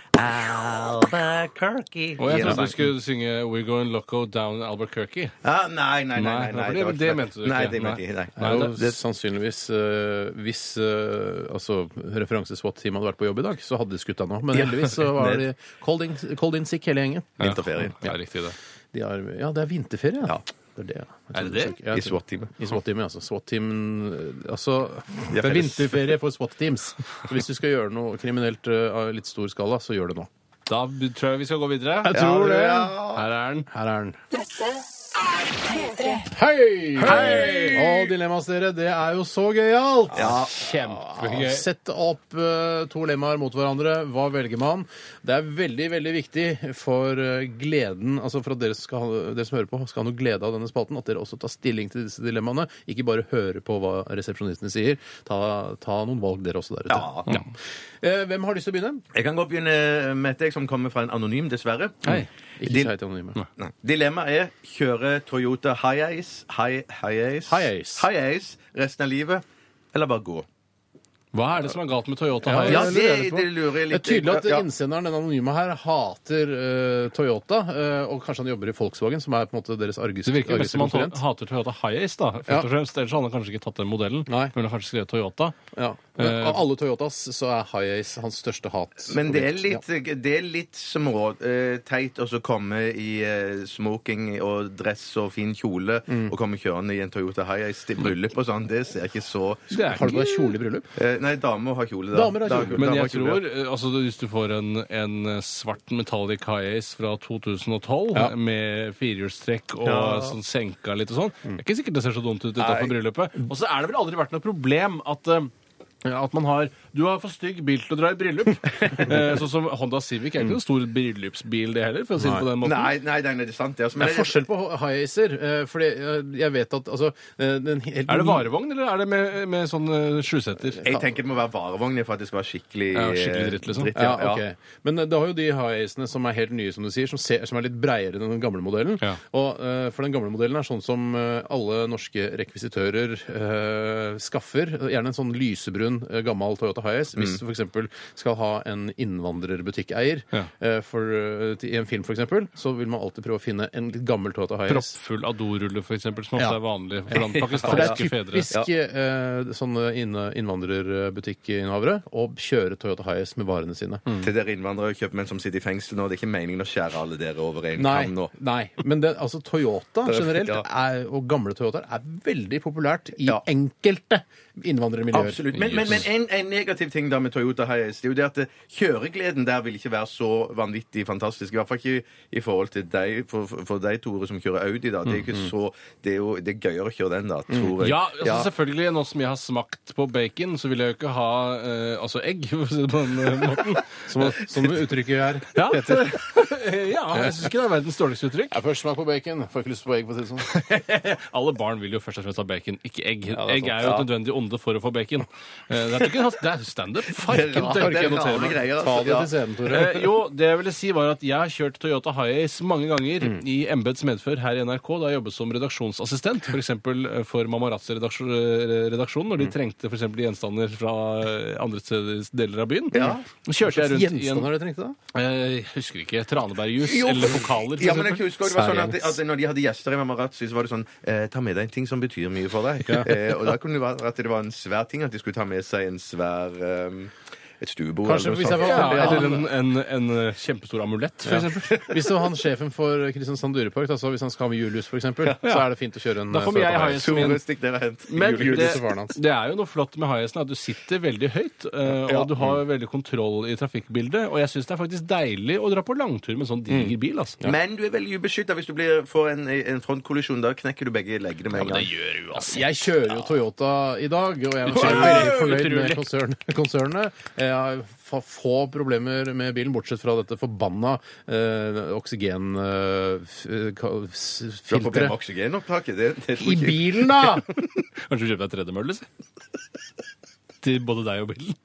Albuquerque. Og Ah. jeg Ja. trodde du skulle synge We're Going Loco Down Albuquerque. Ah, nei, nei, nei. nei, Nei, nei, for det- var det ikke mente du ikke. Nei, det mente jeg ikke. Det Nei. er Nei, jo sannsynligvis eh, Hvis eh, altså, referanse-SWAT-teamet hadde vært på jobb i dag, så hadde de skutt han nå. Men Ja. heldigvis så var de cold in, cold in sick hele gjengen. Vinterferie. Ja, riktig det. De har, ja, det er vinterferie, ja. Det er det, ja. Jeg Er det trodde det? ikke- jeg I trodde- SWAT-teamet. I SWAT-teamet, altså. SWAT-team eh, Altså, det er felles. vinterferie for SWAT-teams. Så Hvis du skal gjøre noe kriminelt eh, av litt stor skala, så gjør det nå. Da b- tror jeg vi skal gå videre. Jeg tror det. Her er den. Her er den. P3. Hei! Og dilemmas, dere, det er jo så gøyalt! Ja, Kjempegøy. Sett opp eh, to lemmaer mot hverandre. Hva velger man? Det er veldig veldig viktig for eh, gleden, altså for at dere, skal, ha- dere som hører på, skal ha noe glede av denne spalten, at dere også tar stilling til disse dilemmaene. Ikke bare høre på hva resepsjonistene sier. Ta, ta noen valg, dere også der ute. Ja. Eh, hvem har lyst til å begynne? Jeg kan godt begynne med et jeg som kommer fra en anonym, dessverre. Mm. Hei. Ikke Dil- si hei til anonyme. Nei. Dilemmaet er kjøre Toyota Hiace Hi- Hiace Hiace. Hiace resten av livet, eller bare gå. Hva er det som er galt med Toyota? Ja, her? Ja, jeg det, lurer på. det lurer jeg Det er litt tydelig at ja. innsenderen, den anonyme her, hater eh, Toyota. eh, og kanskje han jobber i Volkswagen, som er på en måte deres argus Det virker mest som han konkurrent. to- hater Toyota Hiace, da. Først Ja. og fremst, Ellers hadde han kanskje ikke tatt den modellen. Nei. Hun ville kanskje skrevet Toyota. Ja. Men Eh, Av alle Toyotas så er Hiace hans største hat. Men det er Ja. litt, det er litt små, eh, teit å så komme i eh, smoking og dress og fin kjole Mm. og komme kjørende i en Toyota Hiace til bryllup og sånn. Det ser jeg ikke så Har du på deg kjole i bryllup? Eh, Nei, damer har kjole. Da. Damer har Da- kjole. Men damer har jeg kjole, ja. tror, eh, altså hvis du får en, en svart metallic Hiace fra 2012 med firehjulstrekk og sånn senka litt og sånn, Mm. det er ikke sikkert det ser så dumt ut utenfor bryllupet. Og så er det vel aldri vært noe problem at eh, at man har Du har for stygg bil til å dra i bryllup. Eh, sånn som Honda Civic er ikke noen stor bryllupsbil, det heller, for å si det på den måten. Nei, nei, nei, nei, det er sant. Det, altså, Det men er forskjell på Hiacer, uh, fordi eh, jeg vet at altså eh, den helt Er det varevogn, eller er det med, med sånn eh, sjuseter? jeg tenker det må være varevogn for at det skal være skikkelig, Ja, skikkelig eh, dritt, liksom. ja, Ja, ok. Men eh, da har jo de Hiacene som er helt nye, som du sier, som, ser, som er litt breiere enn den gamle modellen. Ja. Og eh, For den gamle modellen er sånn som eh, alle norske rekvisitører eh, skaffer. Gjerne en sånn lysebrun, eh, gammel Toyota Hiace. Mm. Hvis du for f.eks. skal ha en innvandrerbutikkeier Ja. eh, for, eh, til- i en film, f.eks., så vil man alltid prøve å finne en litt gammel Toyota Hiace. Proppfull Ador-rulle, for eksempel, som også Ja. er vanlig blant For det er pakistanske fedre. typisk eh, sånne inne- innvandrerbutikkinnehavere å kjøre Toyota Hiace med varene sine. Til dere innvandrere og kjøpmenn som sitter i fengsel nå, det er ikke meningen å skjære alle dere over en Nei, kam nå. nei, men det, altså Toyota Det er- generelt ja. er, og gamle Toyotaer er veldig populært i Ja. enkelte innvandrermiljøer. Absolutt. Men, men, men en, en negativ ting da med Toyota Hiace det er jo det at eh, kjøregleden der vil ikke være så vanvittig fantastisk. I hvert fall ikke i forhold til deg, for, for- for deg, Tore, som kjører Audi. da. Det er, Mm, ikke så, det er jo det er gøyere å kjøre den, da, tror jeg. Ja, altså selvfølgelig. Nå som jeg har smakt på bacon, så vil jeg jo ikke ha eh, altså egg. for å si det på den eh, måten. Som, som uttrykket er. Ja. ja, jeg syns ikke det er verdens dårligste uttrykk. Jeg først smak på bacon. Får ikke lyst på egg. på det sånn. Alle barn vil jo først og fremst ha bacon, ikke egg. det er egg sant. er jo et nødvendig onde for å få bacon. Eh, Det er, ikke, det er standup. Farken, Det er rare- det orker jeg det er notere rare meg. greier, altså. Ta det Ja. til scenen, Tore. Eh, jo, det jeg ville si var at jeg har kjørt Toyota Hiace mange ganger Mm. i embets medfør her i NRK da jeg jobbet som redaksjonsassistent, f.eks. For, eh, for Mamarazzi-redaksjonen, Mm. når de trengte for eksempel gjenstander fra eh, andre steder- deler av byen. Ja. Så Kjørte jeg rundt i en Gjenstander du trengte, da? eh, Jeg husker ikke. Tranebærjus Jo. eller pokaler, Ja, men jeg f.eks. husker også det var sånn at, at Når de hadde gjester i Mamarazzi, så var det sånn eh, Ta med deg en ting som betyr mye for deg. Eh, og da kunne det være at det var en svær ting at de skulle ta med seg en svær eh, et stuebord Kanskje eller hvis noe jeg sånt. var Ja, ja, eller en, en, en eh, kjempestor amulett, for eksempel. Hvis det var han sjefen for Kristiansand Dyrepark, altså hvis han skal ha med Julius, f.eks., så er det fint å kjøre en eh, Da får vi jeg ha en som en Tore, stikk dere hent. Men det, Julius og faren hans. det er jo noe flott med highasen, at du sitter veldig høyt, eh, og Ja. du har veldig kontroll i trafikkbildet. Og jeg syns det er faktisk deilig å dra på langtur med en sånn Mm. diger bil. altså. Men du er veldig ubeskytta hvis du blir, får en, en frontkollisjon. Da knekker du begge leggene med en gang. gjør du, altså. Jeg kjører jo Toyota i dag, og jeg Utrolig. er veldig fornøyd med Utrolig. konsern, konsernet. Jeg har fa- få problemer med bilen, bortsett fra dette forbanna eh, Du har problemer med oksygenfilteret. oksygenopptaket. Det, det tror I jeg ikke. bilen, da! Kanskje du kjøper deg tredemølle, si. Til både deg og bilen.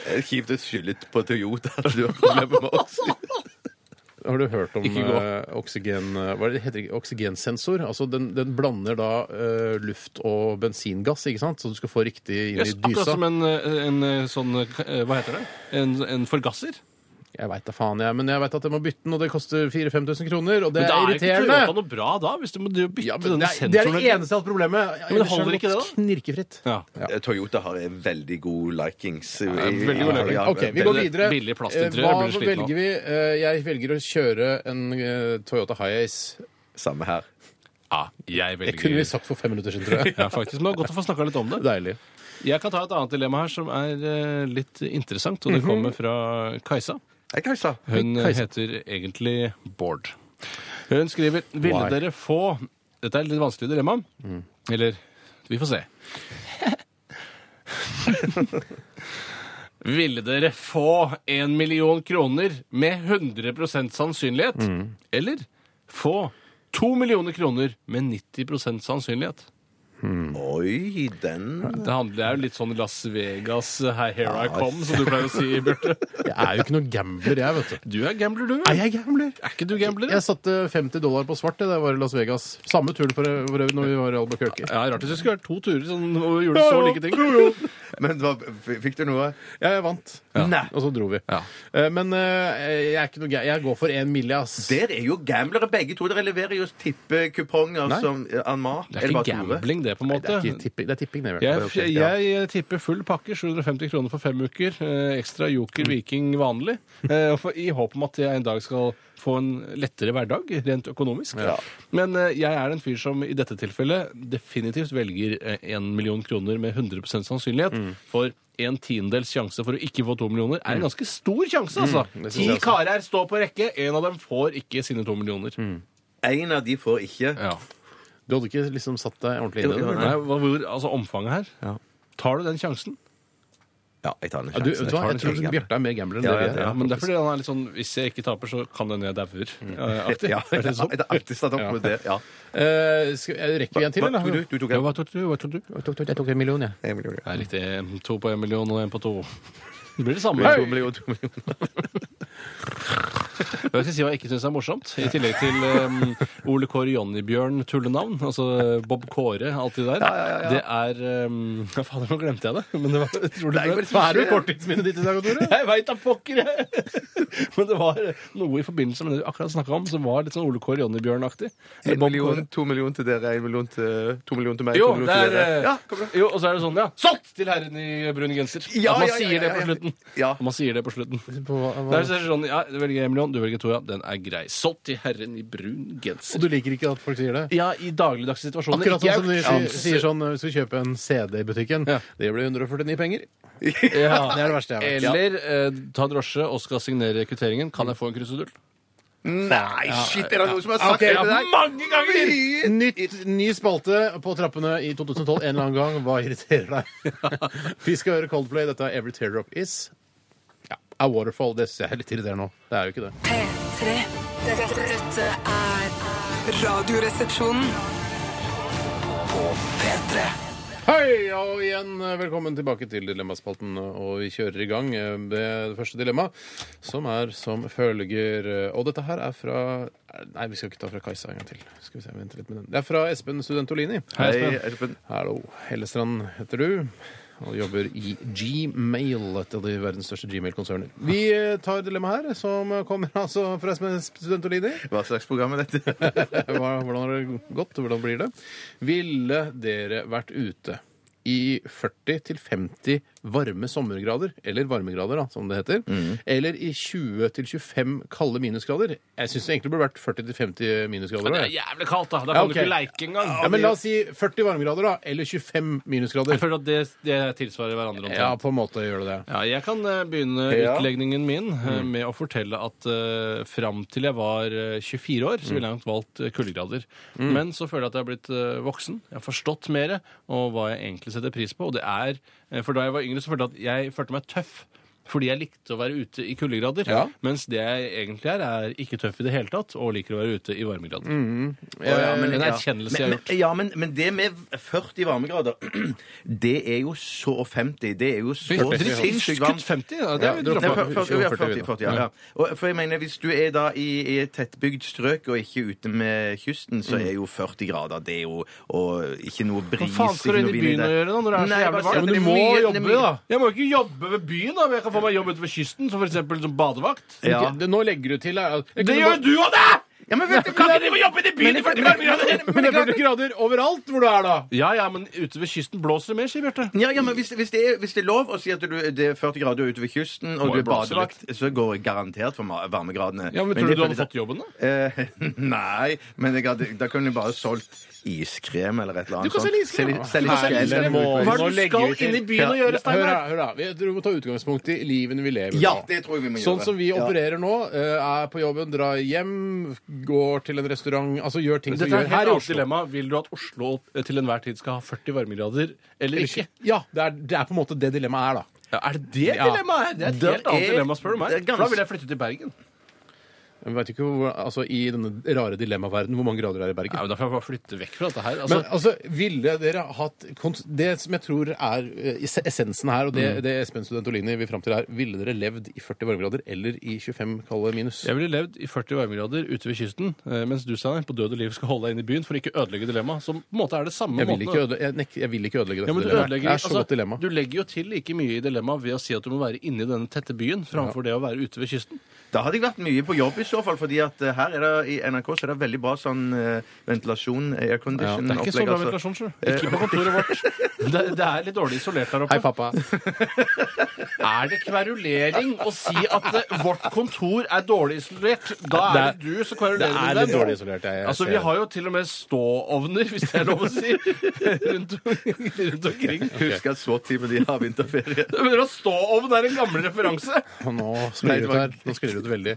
Det er Kjipt å skylde på Toyota at du har problemer med oksygen. Har du hørt om Ikke gå. eh, oksygen... Hva er det det heter ikke? Oksygensensor? Altså, den, den blander da eh, luft og bensingass, ikke sant? Så du skal få riktig inn i Yes, akkurat dysa. som en, eh, en eh, sånn eh, Hva heter det? En, en forgasser. Jeg veit da faen, jeg. Men jeg veit at jeg må bytte den, og det koster 4000-5000 kroner, og det Men da er er jo ikke Toyota irriterende. noe bra da, hvis du må drive og bytte Ja, men det, er, denne det er det sensoren. eneste av problemet. men det holder ikke det, da? Knirkefritt. Ja. Toyota har en veldig god likings. veldig god liking. Ok, vi går veldig- videre. billig plastinteriør, Hva jeg blir sliten av. velger vi? Eh, Jeg velger å kjøre en eh, Toyota Hiace. Samme her. ja, jeg Det kunne vi velger sagt for fem minutter siden, tror jeg. ja, faktisk, men det var Godt å få snakka litt om det. Deilig. Jeg kan ta et annet dilemma her som er eh, litt interessant, og det kommer fra Kajsa. Hei, Kajsa. Hun Mhm. eh, Hei, Kajsa. heter egentlig Bård. Hun skriver Ville Why? Mm. dere få Dette er et litt vanskelig dilemma. Eller Vi får se. Ville dere få en million kroner med 100 sannsynlighet? Mm. Eller få to millioner kroner med 90 sannsynlighet? Oi, den Det handler det er jo litt sånn Las Vegas, eh, her, here I come, som du pleier å si, Bjarte. Jeg er jo ikke noen gambler, jeg, vet du. Du er gambler, du. Er jeg gambler? Er ikke du gambler? Jeg satte 50 dollar på svart jeg, da jeg var i Las Vegas. Samme turen for for øvrig når vi var i Albuquerque. Ja, Rart hvis det skulle vært to turer sånn, og gjorde så like ting. Men hva, fikk du noe? Ja, jeg vant. Nei. Og så dro vi. Ja. Eh, Men eh, jeg er ikke noe ga- Jeg går for én mille, ass. Dere er jo gamblere begge to. Dere leverer jo tippekuponger Nei. som eh, Anmar. Det er ikke gambling, det, på en Nei, det måte. er ikke tipping. Det er tipping, det. Jeg, Bjørn. jeg, jeg eh, tipper full pakke, 750 kroner for fem uker. eh, Ekstra joker, Mm. viking, vanlig. eh, og for, I håp om at jeg en dag skal få en lettere hverdag, rent økonomisk. Men eh, jeg er en fyr som i dette tilfellet definitivt velger én million kroner med 100 sannsynlighet. Mm. For en tiendedels sjanse for å ikke få to millioner er en ganske stor sjanse, altså. Mm. det synes Ti jeg også. Mm. karer står på rekke, én av dem får ikke sine to millioner. En av de får ikke. Ja. Du hadde ikke liksom satt deg ordentlig inn i Jo, jo, det? Nei, hva, hvor, altså omfanget her. Tar du den sjansen? Ja, jeg tar den Ja, du, vet du hva? Jeg tror Jeg Bjarte er mer gambler enn Ja, det vi ja, er. ja. Mm. Ja, men det er fordi han er litt sånn Hvis jeg ikke taper, så kan det hende jeg dauer. eh, aktig. Ja, Er det sånn? det er alltid satt opp mot det. Ja. Eh, skal, eh, rekker vi en til, Hva eller? tok du? Du tok Ja, en. hva tok du? Hva tok du? Jeg tok- Jeg tok en million, jeg. En million. Det er riktig. To på én million og én på to. Det blir det samme. To Hva millioner, to millioner. skal jeg si hva jeg ikke syns er morsomt? I tillegg til um, Ole Kåre Jonny-Bjørn tullenavn, altså Bob Kåre, alt det der, det er um, ja, Fader, nå glemte jeg det. Men det var utrolig Nei, men bra. så Er du korttidsminnet ditt i dag, Tore? Jeg veit da pokker, jeg! Men det var noe i forbindelse med det du akkurat snakka om, som var litt sånn Ole Kåre Jonny-Bjørn-aktig. En million, to millioner til dere, en million til, to millioner til meg. Jo, to det millioner er, til dere. eh, Ja, kom igjen. jo, og så er det sånn, ja. Solgt til herren i brun genser. Ja, At man ja, ja, sier det ja, på ja. slutten. Ja. At man sier det på slutten. På, hva- Det er sånn, ja, du velger en million, sånn. Du velger Toya. Den er grei. Solgt til herren i brun Og genser. du liker ikke at folk sier det? Ja, i dagligdagse situasjoner. Akkurat Ikke sånn som de sier, auktions- sier sånn hvis du kjøper en CD i butikken. Ja. Det blir 149 penger. Ja. Det er det verste jeg har vært. Eller eh, ta drosje og skal signere kvitteringen. Kan jeg få en krusedull? Nei, shit! Er det noen som har sagt Ok, det til deg? mange ganger! Nytt, ny spalte på trappene i 2012 en eller annen gang. Hva irriterer deg? Vi skal høre Coldplay. Dette er Every Teardrop Is. Ja, A Waterfall. Det ser jeg litt irriterende nå. Det er jo ikke det. P3. Dette, dette er Radioresepsjonen. P3 Hei, og igjen eh, velkommen tilbake til Dilemmaspalten. Og vi kjører i gang eh, med det første dilemmaet, som er som følger eh, Og dette her er fra Nei, vi skal ikke ta fra Kajsa en gang til. Skal vi se, vente litt med den. Det er fra Espen Studentolini. Hei, Espen. Hallo. Hellestrand heter du. Og jobber i Gmail, et av de verdens største Gmail-konserner. Vi eh, tar dilemmaet her, som kommer altså fra Espen Studentolini. Hva slags program er dette? Hva- Hvordan har det gått, og hvordan blir det? Ville dere vært ute i 40-50 varme sommergrader, eller varmegrader, da, som det heter, Mm. eller i 20-25 kalde minusgrader? Jeg syns det egentlig burde vært 40-50 minusgrader. Det da, er jeg. jævlig kaldt, da. Da Ja, kan ok. du ikke leike engang. Ja, men La oss si 40 varmegrader, da, eller 25 Jeg minusgrader. føler at det, det tilsvarer hverandre. omtrent. Ja, på en måte gjør det det. Ja, jeg kan eh, begynne Ja. Mm. utlegningen min eh, med å fortelle at uh, fram til jeg var eh, 24 Mm. år, så ville jeg nok valgt eh, kuldegrader. Men så føler jeg at jeg har blitt eh, voksen. Jeg har forstått mer og hva jeg egentlig setter pris på. Og det er, eh, for da jeg var yngre, så følte jeg at jeg følte meg tøff. Fordi jeg likte å være ute i kuldegrader. Ja. Mens det jeg egentlig er, er ikke tøff i det hele tatt, og liker å være ute i varmegrader. Mm. Ja, men- en ja. erkjennelse Men- Eh, jeg har men- Ja, men, men det med 40 varmegrader, det er jo så og 50. Det er jo så sinnssykt varmt. Skutt 50? Ja, det Ja, er droppa- jo Nei, droppa. for- for- for- ja, 40, 40, 40, ja, ja. Og, for jeg mener, Hvis du er da i, i et tettbygd strøk og ikke ute med kysten, så er jo 40 grader det er jo og ikke noe bris Hva faen skal du ikke inn noe i vind byen det. og gjøre da, når det er så Nei, jeg jævlig bare varmt? sier at det er mye- det er mye- Jeg må jo ikke jobbe ved byen, da. men Jeg kan få meg jobb ute ved kysten, som for eksempel som badevakt. Ja. Det- Nå legger du til her at- Det gjør jo du og det! Ja, men vet du Kan hva? ikke drive og jobbe ute i byen i 40 varmegrader! Men det er 40 grader overalt hvor du er, da! Ja, ja, men ute ved kysten blåser det mer, sier Bjarte. Ja, ja, men hvis, hvis, det er, hvis det er lov å si at du, det er 40 grader ute ved kysten, og Må du jo er blåse badevakt, så går jeg garantert for ma- varmegradene. Ja, men Tror du du det hadde føles- fått jobben, da? Eh, nei, men jeg hadde, da kunne jeg bare solgt iskrem eller et eller Du annet. kan sånt. selge iskrem, Selge- da. selge Nei, iskrem. eller må- Hva er Nå det du legger vi skal til- inn i byen og gjøre, Hør Steinar? her, hør her. Vi- Du må ta utgangspunkt i livene vi lever Ja, nå. det tror jeg vi må Sånn gjøre. som vi Ja. opererer nå, eh, er på jobben, drar hjem, går til en restaurant, altså gjør ting som Dette vi gjør er et her helt i annet Oslo. dilemma. Vil du at Oslo til enhver tid skal ha 40 varmegrader eller ikke? Ja, det er, det er på en måte det dilemmaet er, da. Ja, er det det Ja. dilemmaet her? Det er et Det helt annet er- dilemma, spør du meg. det er ganske- For Da vil jeg flytte til Bergen. Jeg vet ikke hvor, altså, I denne rare dilemmaverdenen, hvor mange grader det er i Bergen? Ja, men Da får jeg bare flytte vekk fra dette her. Men altså, ville dere hatt kons- Det som jeg tror er eh, ess- essensen her, og det, Mm. det Espen Studentolini vil fram til her, ville dere levd i 40 varmegrader eller i 25 kalde minus? Jeg ville levd i 40 varmegrader ute ved kysten, eh, mens du Steiner, på død og liv skal holde deg inne i byen for å ikke ødelegge dilemmaet, som på en måte er det samme. Jeg vil ikke måten å- ødelegge, jeg, nek- jeg vil ikke ødelegge dette ja, men du, dilemmaet. ødelegger, det er så altså, godt dilemma. du legger jo til like mye i dilemmaet ved å si at du må være inne i denne tette byen framfor det å være ute ved kysten. Da hadde jeg vært mye på jobb i så fall, fordi at eh, her er det, i NRK så er det veldig bra sånn eh, ventilasjon, Ja, aircondition. altså. det er ikke så bra ventilasjon, skjønner du. Ikke på kontoret vårt. Eh, Det, det er litt dårlig isolert der oppe. Hei, pappa. Er det kverulering å si at eh, vårt kontor er dårlig isolert? Da er det du som kverulerer det er med litt dem. dårlig isolert, jeg- jeg altså, ser vi det. har jo til og med ståovner, hvis det er lov å si, rundt, rundt omkring. Husk at SWAT-teamet de har vinterferie. Men å ståovn er en gammel referanse. Og nå sklir det ut her. Nå sklir det ut veldig.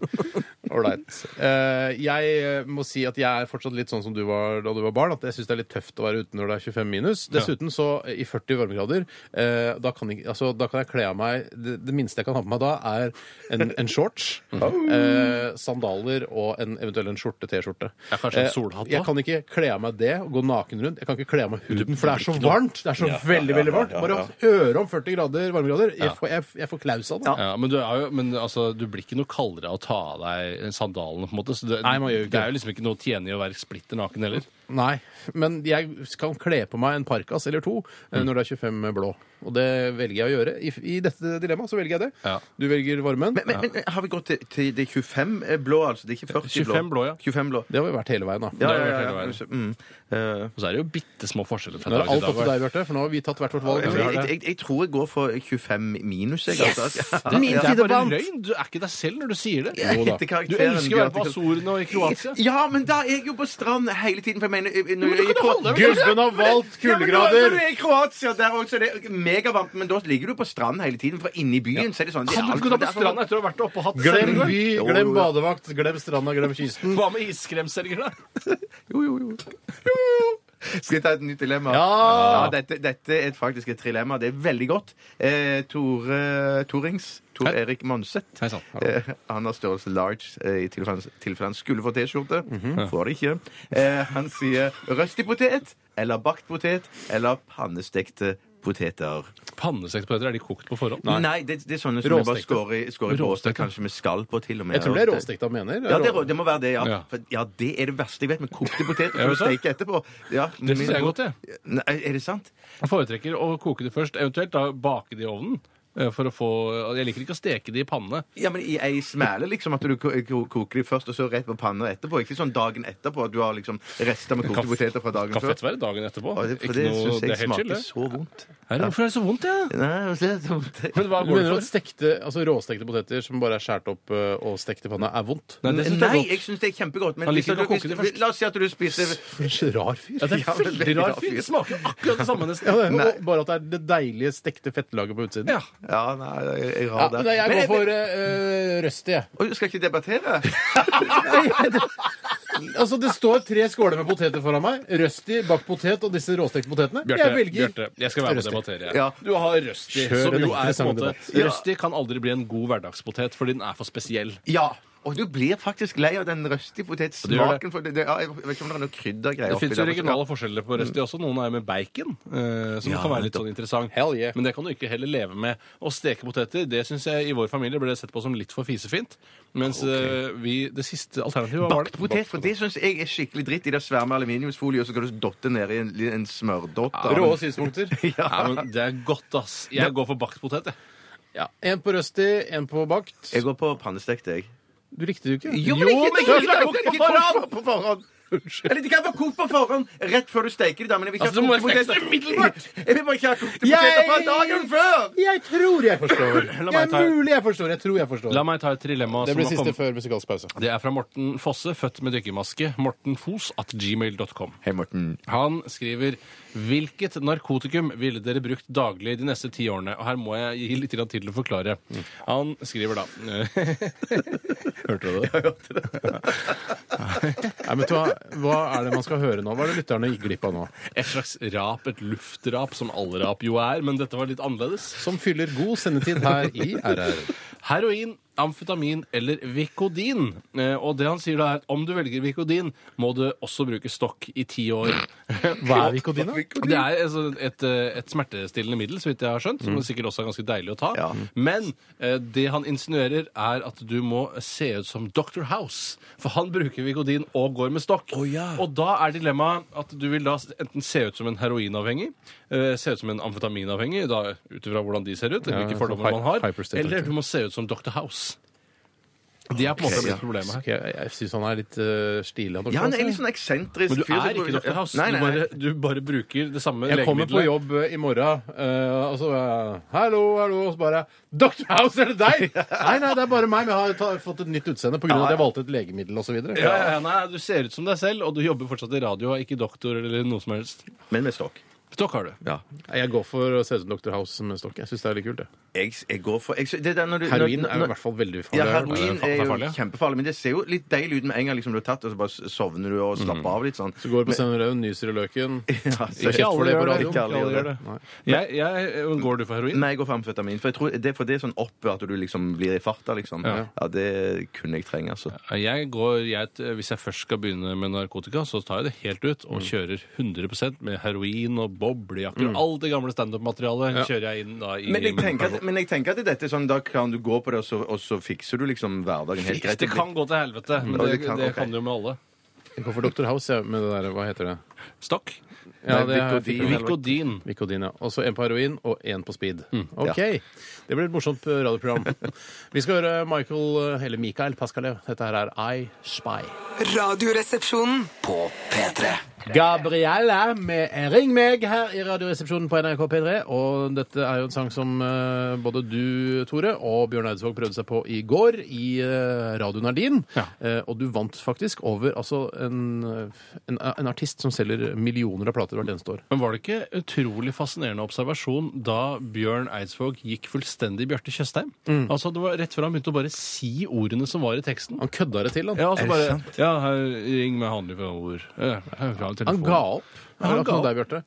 Ålreit. Eh, jeg eh, må si at jeg er fortsatt litt sånn som du var da du var barn, at jeg syns det er litt tøft å være ute når det er 25 minus. Dessuten så, eh, i 40 varmegrader, eh, da, kan jeg, altså, da kan jeg kle av meg det, det minste jeg kan ha på meg da, er en, en shorts, eh, sandaler og en, eventuelt en skjorte, T-skjorte. Ja, kanskje en Eh, solhatt Jeg også? kan ikke kle av meg det og gå naken rundt. Jeg kan ikke kle av meg huden, for det er så varmt. Det er så veldig, veldig varmt. Bare å høre om 40 grader varmegrader, jeg får, jeg, jeg får klaus av det. Ja, men du, er jo, men altså, du blir ikke noe kaldere av å ta av deg sandalene, på en måte. Så det, Nei, man gjør jo ikke det er det. jo liksom ikke noe å tjene i å være splitter naken heller. Nei, men jeg kan kle på meg en parkas eller to eh, når det er 25 blå. Og det velger jeg å gjøre. I, i dette dilemmaet så velger jeg det. Ja. Du velger varmen. Men, men, men har vi gått til, til det 25 blå, altså? Det er ikke 40 25 blå, ja. 25 blå. Det har vi vært hele veien, da. Ja, Det har ja, vi ja, vært hele ja. veien. Mm. Eh, Og så er det jo bitte små forskjeller fra Nå er det dag til alt opp til dag. deg, Bjarte, for nå har vi tatt hvert vårt valg. jeg, det. jeg, jeg, jeg tror jeg går for 25 minus, jeg. Altså. Ja. Det er bare sideband. løgn! Du er ikke deg selv når du sier det. Jeg heter karakteren Du elsker å være på Bjarte Azorene og i Kroatia. Ja, men da er jeg jo på strand hele tiden. For jeg mener, eh, når du jeg er i kan Kro- holde deg Gud, Gubben har valgt Ja, men når- Når kuldegrader! du er i Kroatia, der også, er det megavarmt, men da ligger du på strand hele tiden. For inni byen så er det sånn det er Kan du alt- ikke gå på stranda etter å ha vært oppe og hatt Glem sending? by, Jo, jo, glem jo. badevakt, glem stranda, glem kysten. Hva med isskremselger, da? Jo, jo, jo. jo, jo. Skal jeg ta et nytt dilemma? Ja! dette, dette er faktisk et trilemma. Det er veldig godt. Eh, Tore Torings. Tor Hei. Erik Monseth. Hei sann. Eh, han har størrelse large eh, i tilfelle han- tilfelle han skulle få T-skjorte. Får det ikke. Eh, han sier røstig potet eller bakt potet eller pannestekte poteter. Pannestekt poteter, er de kokt på forhånd? Nei, det, det er sånne som jeg bare Råstekte. skårer i- skårer i påstå, Råstekte. kanskje med skall på, til og med. Jeg tror det er råstekt han mener. Ja, det, er rå- det må være det, ja. Ja. For, ja. Det er det verste jeg vet, med kokte poteter Ja, som du vet du. steker etterpå. Ja, Det synes jeg er godt, det. Nei, er det sant? Jeg foretrekker å koke det først, eventuelt da bake det i ovnen. eh, For å få Jeg liker ikke å steke det i panne. Ja, men i ei smæle, liksom, at du ko- ko- koker de først, og så rett på panna etterpå. Ikke sånn dagen etterpå at du har liksom rester med kokte Kaff- poteter fra dagen Kan før. fett være dagen etterpå. Og det, for Ikke det noe- syns jeg det er helt chill, smaker det. så vondt. Herre, Hvorfor er det så vondt, jeg? Ja? Nei, det er så vondt. Men hva Du går det mener at for? stekte, altså råstekte poteter som bare er skåret opp eh, og stekt i panna, er vondt? Nei, det synes jeg er Nei, godt. jeg syns det er kjempegodt. Men Han hvis liker du, ikke å koke hvis, det først. la oss si at du spiser For en rar fyr. Ja, det Ja, er men veldig rar fyr. fyr. Det smaker jo akkurat det samme, Ja, nesten. det er- og Bare at det er det deilige stekte fettlaget på utsiden. Ja. Ja, nei, jeg Ja, har det. men jeg går Men for uh, røst, jeg. Oi, skal jeg ikke debattere? Altså, det står tre skåler med poteter foran meg. Røsti, bakt potet og disse råstekte potetene. Bjarte, jeg velger Bjarte, jeg skal være med røsti. og debattere. jeg. Ja. Du har Røsti, Kjør som en jo er på en interessant måte debatt. Ja. Røsti kan aldri bli en god hverdagspotet, fordi den er for spesiell. Ja. Og du blir faktisk lei av den røstige Du gjør det. potetsmaken. for det- det- ja, Jeg vet ikke om det er noe kryddergreier Det oppi fins jo der. regionale forskjeller på Røsti også. Noen er jo med bacon, eh, som Ja, kan være litt nettopp. sånn interessant. Hell yeah. Men det kan du ikke heller leve med. Å steke poteter, det syns jeg i vår familie ble sett på som litt for fisefint. Mens eh, vi Det siste alternativet var Bakt potet, for det syns jeg er skikkelig dritt. I det svære med aluminiumsfolie, og så kan du dotte ned i en, en smørdott. av- Rå synspunkter. Ja, men det er godt, ass. Jeg går for bakt potet, jeg. Ja. En på røsti, en på bakt. Jeg går på pannestekt, jeg. Du likte det jo ikke. Jo, men ikke, men ikke, ikke, ikke, ikke kokt på forhånd! Unnskyld. Eller de kan være kokt på forhånd rett før du steker de, da, men jeg vil ikke Altså, du må ha kokte fikse poteter. det umiddelbart! Jeg vil bare ikke ha kokte poteter fra dagen før! Jeg tror jeg forstår. La Det meg er ta- mulig jeg forstår. Jeg tror jeg forstår. La meg ta et dilemma Det som blir har siste kommet. før musikalsk pause. Det er fra Morten Fosse, født med dykkermaske. Mortenfos at gmail.com. Hei, Morten. Han skriver Hvilket narkotikum ville dere brukt daglig de neste ti årene? Og her må jeg gi litt grann tid til å forklare. Han skriver da Hørte du det? Nei, men hva, hva er det man skal høre nå? Hva er det lytterne gikk glipp av nå? Et slags rap, et luftrap, som alle rap jo er, men dette var litt annerledes. Som fyller god sendetid her i RR. Heroin, amfetamin eller Vicodin. Eh, Og det han sier da er at om du velger Vicodin, må du også bruke stokk i ti år. Hva er Vicodin, da? Det er altså et, eh, et smertestillende middel, så vidt jeg har skjønt, Mm. som sikkert også er ganske deilig å ta. Ja. Men eh, det han insinuerer, er at du må se ut som Dr. House. For han bruker Vicodin og går med stokk. Og da er dilemmaet at du vil da enten se ut som en heroinavhengig, eh, se ut som en amfetaminavhengig, da ut ifra hvordan de ser ut, hvilke hy- fordommer man har, hyperstate, eller vet du. du må se ut som Dr. House. Det er på en måte Ok, ja. litt problemet her. Ok, jeg jeg syns han er litt eh, stilig. han, Ja, han er kanskje. litt sånn eksentrisk Men du fyr, så er ikke Dr. House. Nei, nei, nei. Du, bare, du bare bruker det samme Jeg kommer på jobb eh, i morgen, eh, og så eh, Hallo, hallo. Og så bare Dr. House, er det deg? nei, nei, det er bare meg. Men jeg har ta, fått et nytt utseende pga. at jeg valgte et legemiddel osv. Ja, ja, ja, nei, Du ser ut som deg selv, og du jobber fortsatt i radio, og ikke doktor eller noe som helst. Men med stokk. Stokk har du. Ja. Jeg går for å se ut som Dr. House med stokk. Jeg syns det er litt kult, det. Jeg, jeg går for jeg, det der når du, Heroin når, er jo i når, hvert fall veldig ja, farlig. heroin det er er jo farlig, ja. kjempefarlig, men det ser jo litt deilig ut med en gang liksom, du har tatt, og så bare sovner du og slapper av litt sånn. Så går du på Stein Raun, nyser i løken. Ja, så- Ikke alle gjør det. Ikke alle gjør det. Nei. Jeg, jeg, går du for heroin? Nei, jeg går for amfetamin. For jeg tror det, for det er sånn opp at du liksom blir i farta, liksom. Ja, det kunne jeg trenge, altså. Jeg går, jeg, hvis jeg først skal begynne med narkotika, så tar jeg det helt ut og kjører 100 med heroin og boblejakker. og Alt det gamle standup-materialet kjører jeg inn da i Men jeg, tenker at, men jeg tenker at dette er sånn, da kan du gå på det, og så, og så fikser du liksom hverdagen helt greit. Det kan gå til helvete, men Ja, det, det kan- det ok. kan jo med alle. Jeg går for Dr. House, jeg, med det der Hva heter det? Stokk. Ja, Nei, det er- Vicodin. Vicodin. Vicodin, ja. Og så en på heroin og en på speed. Mm, OK. Det blir et morsomt eh, radioprogram. Vi skal høre Michael, eh, eller Mikael Paskalev. Dette her er I Spy. Radioresepsjonen. På P3. Gabrielle med Ring meg her i Radioresepsjonen på NRK P3. Og dette er jo en sang som eh, både du, Tore, og Bjørn Eidsvåg prøvde seg på i går i eh, Radio Nardin. Ja. Eh, Og du vant faktisk over altså, en, en, en artist som selger millioner av plater hvert eneste år. Men var det ikke utrolig fascinerende observasjon da Bjørn Eidsvåg gikk fullstendig Bjarte Tjøstheim? Altså, det var rett før han begynte å bare si ordene som var i teksten. Han kødda det til, han. Ja, altså det bare, sant? ja, her, ring meg handler for ord. Ja, her fra Han telefonen. ga opp. Ja, Er han det ga akkurat deg, Bjarte?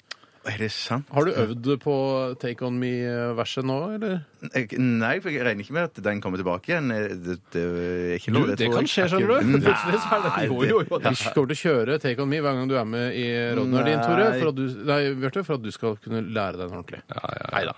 Er det sant? Har du øvd på Take On Me-verset nå, eller? Jeg- Nei, for jeg regner ikke med at den kommer tilbake igjen. Eh, Det, det er ikke Du, lov. det tror kan skje, jeg. skjønner du. Nei, Plutselig så er det jo, jo, jo. Vi kommer til å kjøre Take On Me hver gang du er med i Rodnard din, Nei. Tore. For at du, nei, Bjarte, for at du skal kunne lære deg den ordentlig. Nei da.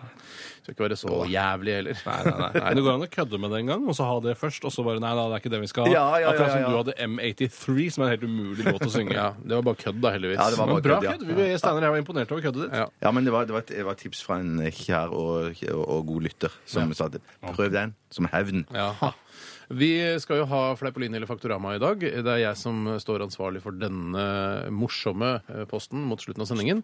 Skal ikke være så jævlig heller. Nei, nei, nei, nei. Det går an å kødde med det en gang, og så ha det først, og så bare Nei da, det er ikke det vi skal ha. Ja, ja, ja, Akkurat som ja. du hadde M83, som er en helt umulig låt å synge. Ja, det var bare kødd, da, heldigvis. Ja, det var Men bare Bra kødd, ja. kødd. Vi- Steinar, jeg var imponert over køddet ditt. Ja. Ja, men det var, det var, et, det var et tips fra en kjær og, og, og god lytter som sa at prøv den som hevn. Jaha. Vi skal jo ha Fleipolini eller Faktorama i dag. Det er jeg som står ansvarlig for denne morsomme eh, posten mot slutten av sendingen.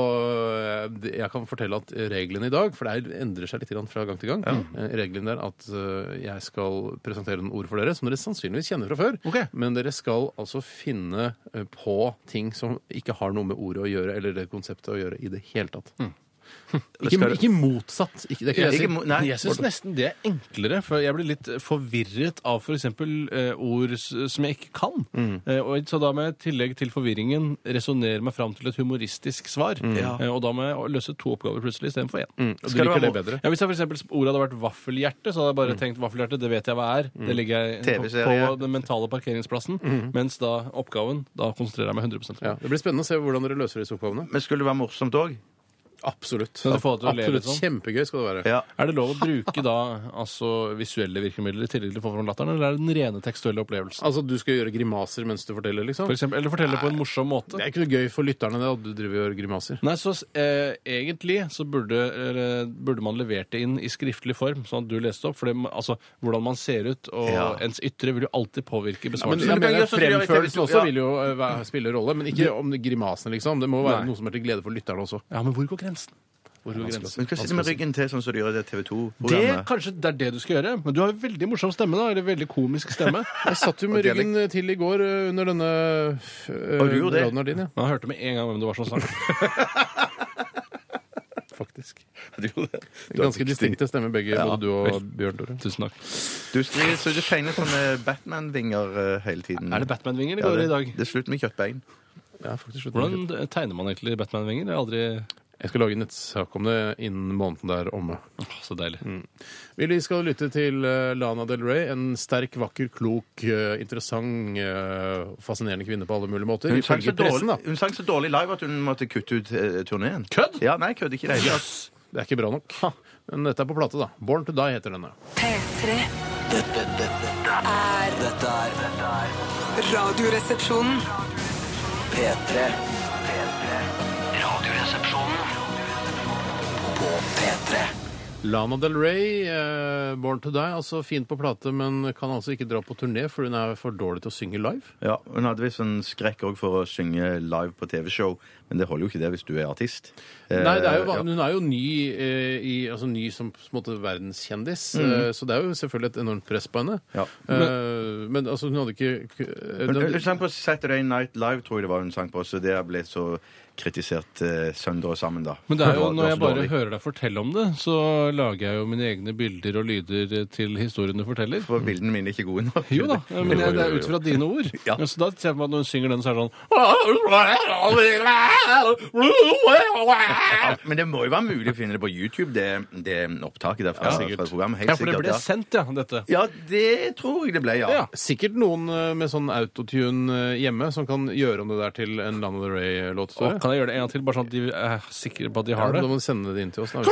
Og eh, jeg kan fortelle at reglene i dag, for det her endrer seg litt grann fra gang til gang, Eh, reglene der at eh, jeg skal presentere noen ord for dere som dere sannsynligvis kjenner fra før. Ok. Men dere skal altså finne eh, på ting som ikke har noe med ordet å gjøre eller det konseptet å gjøre i det hele tatt. Ikke, Mm. Skal- ikke motsatt. Ikke, det er ikke det jeg Ikke sier. mo- nei. Jeg syns nesten det er enklere, for jeg blir litt forvirret av f.eks. Eh, ord s- som jeg ikke kan. Mm. Eh, og så da må jeg i tillegg til forvirringen resonnere meg fram til et humoristisk svar. Mm. Eh, og da må jeg løse to oppgaver plutselig istedenfor én. Mm, og du liker det bedre? Ja, hvis jeg for eksempel, ordet hadde vært vaffelhjerte, så hadde jeg Mm. bare tenkt vaffelhjerte, det vet jeg hva er. Det legger jeg på, på TV-serie. den mentale parkeringsplassen. Mens da oppgaven, da konsentrerer jeg meg 100 om Mm. Ja, den. det blir spennende å se hvordan dere løser disse oppgavene. Men skulle det være morsomt òg? Absolutt. Så du får det til å leve Absolutt sånn? Kjempegøy skal det være. Ja. Er det lov å bruke da altså, visuelle virkemidler i tillegg til å få fram latteren, eller er det den rene tekstuelle opplevelsen? Altså, du skal gjøre grimaser mens du forteller, liksom? For eksempel, eller fortelle på en morsom Det måte. er ikke noe gøy for lytterne, det, at du driver og gjør grimaser. Nei, så eh, Egentlig så burde, eller, burde man levert det inn i skriftlig form, sånn at du leste opp. For det, altså, hvordan man ser ut og Ja. ens ytre, vil jo alltid påvirke Men besvarelsen. jeg du kan mener, gjøre sånn som de gjør i Fremførelsen TV2, også ja. vil jo eh, være- spille rolle, men ikke om grimasene, liksom. Det må være Nei. noe som er til glede for lytterne også. Ja, men hvor går grensen? Hvor går Men grensen? hva sitter med ryggen til, sånn som du gjør i det TV Det, 2-programmet? kanskje det er det du skal gjøre. Men du har jo veldig morsom stemme, da. Eller veldig komisk stemme. Jeg satt jo med Og dialekt. ryggen til i går eh, under denne eh, Og du gjorde det. radioen din, ja. Man hørte med en gang hvem det var som sang. Faktisk. Du Ganske distinkte stemmer, begge, både du og Bjørn Tore. Tusen takk. Du skriver, så du tegner sånne Batman-vinger eh, hele tiden. Er det Batman-vinger det Ja, går i det, dag? det er slutt med kjøttbein. Ja, faktisk slutt. Hvordan tegner man egentlig Batman-vinger? Det er aldri Jeg skal lage en nettsak om det innen måneden der omme. Åh, så deilig. Vi skal lytte til eh, Lana Del Rey, en sterk, vakker, klok, eh, interessant, eh, fascinerende kvinne på alle mulige måter. Hun sang, så Ifølge pressen, dårlig, da. hun sang så dårlig live at hun måtte kutte ut uh, turneen. Kødd? Ja, nei, kødd ikke i det hele tatt. Det er ikke bra nok. Men dette er på plate, da. Born to Die heter denne. P3 Dette, dette, dette er Dette er dette er Radioresepsjonen. P3. P3. Radioresepsjonen. På P3. Lana Del Rey, eh, Born to Die, altså fint på plate, men kan altså ikke dra på turné, for hun er for dårlig til å synge live. Ja, Hun hadde visst en skrekk også for å synge live på TV-show, men det holder jo ikke det hvis du er artist. Eh, Nei, det er jo, va- ja. Hun er jo ny, eh, i, altså ny som på en måte verdenskjendis, eh, så det er jo selvfølgelig et enormt press på henne. Mm. Ja. Eh, men altså, hun hadde ikke Men hun hadde- Hun sang på Saturday Night Live, tror jeg det var hun sang på, så det ble så kritisert eh, søndag og sammen, da. Men det er Det jo, var- det når var jeg så bare dårlig. hører deg fortelle om det, så lager jeg jo mine egne bilder og lyder til historien du forteller. For bildene mine er ikke gode nok. Jo da, men jeg, det er ut fra dine ord. Ja. Men Så da ser jeg for meg at når hun synger den, så er det sånn Ja, men det må jo være mulig å finne det på YouTube, det, det opptaket der fra, fra programmet. Helt Ja, for det sikkert, ble ja. sendt, ja, dette. Ja, det tror jeg det ble, ja. Ja. Sikkert noen eh, med sånn autotune eh, hjemme som kan gjøre om det der til en Lana Del Rey-låt. Og Tore. kan jeg gjøre det en gang til, bare sånn at de er sikre på at de Ja, har det? Da må du sende det inn til oss. Da.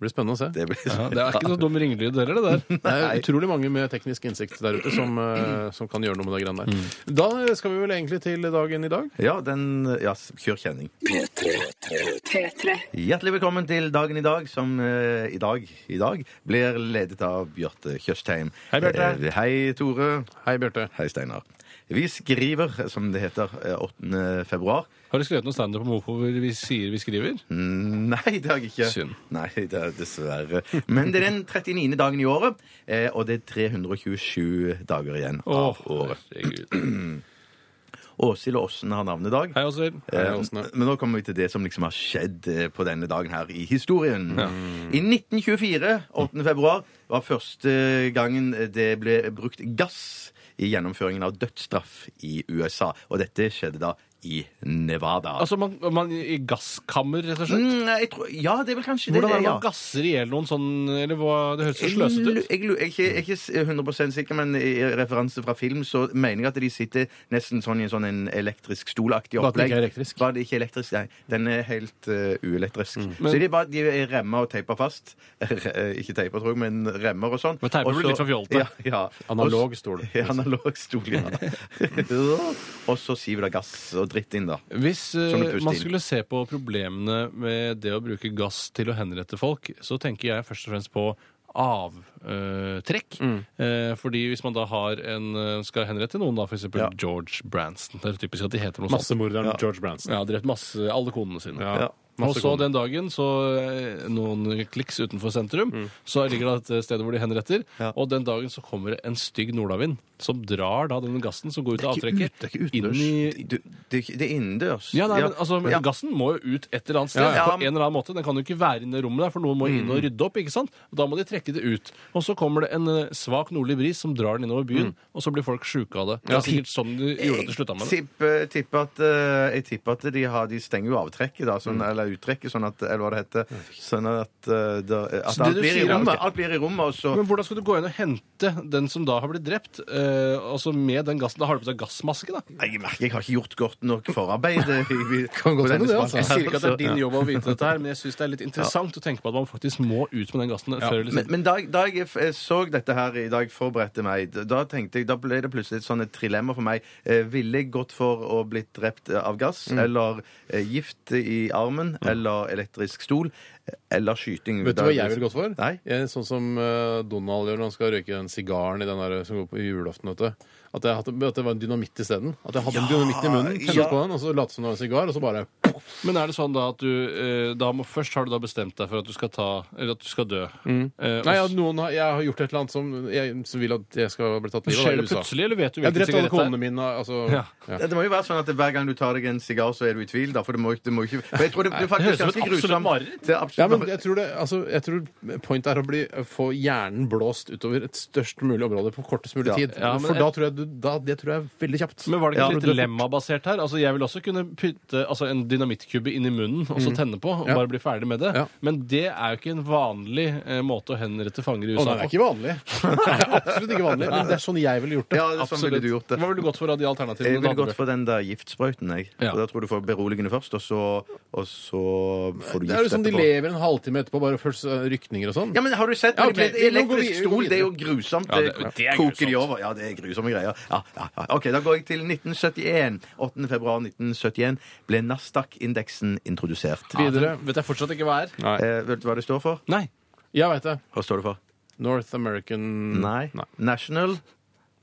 blir spennende å se. Det blir Ja, det er ikke så dum ringelyd heller, det der. Det er utrolig mange med teknisk innsikt der ute som, eh, som kan gjøre noe med det greiene der. Mm. Da eh, skal vi vel egentlig til dagen i dag. Ja, den Ja, kjør kjenning. P3. Hjertelig velkommen til dagen i dag, som eh, i dag i dag blir ledet av Bjarte Tjøstheim. Hei, Bjarte. Eh, hei, Tore. Hei, Bjarte. Hei, Steinar. Vi skriver, som det heter, eh, 8. februar. Har du skrevet noe standup om hvorfor vi sier vi skriver? Mm, Nei, det har jeg ikke. Synd. Nei, det er dessverre. Men det er den 39. dagen i året, eh, og det er 327 dager igjen av året. herregud. Åshild Åssen har navnedag. Hei, Åshild. Eh, Åsne. Men nå kommer vi til det som liksom har skjedd eh, på denne dagen her i historien. I 1924, 8. februar, var første gangen det ble brukt gass i gjennomføringen av dødsstraff i USA. Og dette skjedde da i Nevada. Altså, man, man i gasskammer, rett og slett? Mm, jeg tror, ja, det er vel kanskje Hvordan det. er det ja. man gasser i hjel noen sånn Eller hva, det høres så Jeg, sløset lu- ut. jeg, lu- jeg, er ikke- jeg er ikke s- 100 sikker, men i referanse fra film så mener jeg at de sitter nesten sånn i en sånn en elektrisk stolaktig Bare at det opplegg. ikke er elektrisk. Bare det ikke er elektrisk, nei. Den er helt eh, uelektrisk. Mm. Så de, er bare, de er remma og teipa fast. Eh, ikke teipa, tror jeg, men remmer og sånn. Men teiper Og blir så- litt for fjolte. Ja, ja. Analog Og s- stol. Ja, analog stol, ja. og så siver det gass og dritt inn, da. Hvis eh, Som et pustin. man skulle se på problemene med det å bruke gass til å henrette folk, så tenker jeg først og fremst på avtrekk. Mm. Eh, fordi hvis man da har en eh, skal henrette noen, da f.eks. Ja. George Branson Det er jo typisk at de heter noe sånt. Massemorderen George Branson. Ja, drept masse alle konene sine. Ja, Ja. Og masse så koner. den dagen, så eh, noen kliks utenfor sentrum, Mm. så ligger det et sted hvor de henretter. Og den dagen så kommer det en stygg nordavind som drar da den gassen som går ut av avtrekket, inn i Du- Det er ikke- det er innendørs. ja, nei, men altså, Ja. Gassen må jo ut et eller annet sted. Ja, ja. Mm. På en eller annen måte. Den kan jo ikke være inne i rommet der, for noen må inn og rydde opp. ikke sant? Og Da må de trekke det ut. Og så kommer det en eh, svak nordlig bris som drar den innover Mm. byen, og så blir folk sjuke av det. Det er sikkert sånn de gjorde at de slutta med det. Tipper- tipper at, eh, jeg tipper at de, har, de stenger jo avtrekket, da, Mm. sånn, eller uttrekket, sånn at, eller hva det heter. Sånn at, eh, da- at det alt, du blir i sier er- rommet, alt blir i rommet, og så Men hvordan skal du gå inn og hente den som da har blitt drept, eh, altså med den gassen? Da har du på deg gassmaske, da. Nei, Jeg merker jeg har ikke gjort godt nok forarbeid. i- i- Kan godt på denne hende det, spalten altså. Jeg her, sier ikke at det er så- din jobb å vite dette her, men jeg syns det er litt interessant å tenke på at man faktisk må ut med den gassen før eller Men, siden. men da, jeg- da jeg f- eh, så dette her i dag, forberedte meg, da- da tenkte jeg, da ble det plutselig et sånn et trilemma for meg. Eh, ville jeg gått for å bli drept eh, av gass, Mm. eller eh, gift i armen, eller elektrisk stol, eh, eller skyting? Vet du Da- hva jeg ville gått for? Nei. Jeg, sånn som eh, Donald gjør når han skal røyke den sigaren i den der, eh, som går på julaften. Vet du. At, jeg hadde, at det var en dynamitt isteden. At jeg hadde en dynamitt i munnen, tenner ja. på den, og så late som det var en sigar, og så bare Men er det sånn da at du eh, da må, Først har du da bestemt deg for at du skal ta Eller at du skal dø. Mm. Eh, og Nei, ja, noen har, jeg har gjort et eller annet som jeg som vil at jeg skal bli tatt livet av Skjer i det USA. plutselig, eller vet du Jeg har hvilken drept alle sigarett konene det er? mine. Altså, Ja. ja. Ja, det må jo være sånn at hver gang du tar deg en sigar, så er du i tvil. Da, for det må, det må ikke for jeg tror det, det er Det høres faktisk ganske ut som et absolutt grusomt. mareritt. Det er absolutt Ja, men mareritt. jeg tror, det, altså, jeg tror point er å bli, få hjernen blåst utover et størst mulig område på kortest mulig Ja. tid. Ja, men For jeg- da tror jeg du, da, det tror jeg er veldig kjapt. Men var det Ja, ikke for litt du er fort- dilemmabasert her? Altså, Jeg vil også kunne putte altså, en dynamittkubbe inn i munnen og så tenne på og Ja. bare bli ferdig med det. Ja. Men det er jo ikke en vanlig eh, måte å henrette fanger i Å, USA nei, det er ikke vanlig. Det er absolutt ikke vanlig, men det er sånn jeg ville gjort det. ja, det er sånn ville du gjort det. Hva ville du gått for av de alternativene? Jeg ville da, gått for den der giftsprøyten. jeg. Ja. Og Da tror jeg du får beroligende først, og så, og så får du Det er jo gift sånn de etterpå. lever en halvtime etterpå, bare først eh, rykninger og sånn. Ja, men Har du sett Ja, ok, med vi må gå elektrisk videre, vi går stol? Det er jo grusomt. Ja, det- det er koker de grusomt. over. Ja, det er grusomme greier. Ja, ja, ja. OK, da går jeg til 1971. 8. februar 1971 ble Nasdaq-indeksen introdusert. videre. Vet jeg fortsatt ikke hva er. Eh, vet du hva det står for? Nei. Jeg veit det. Hva står det for? North American Nei. National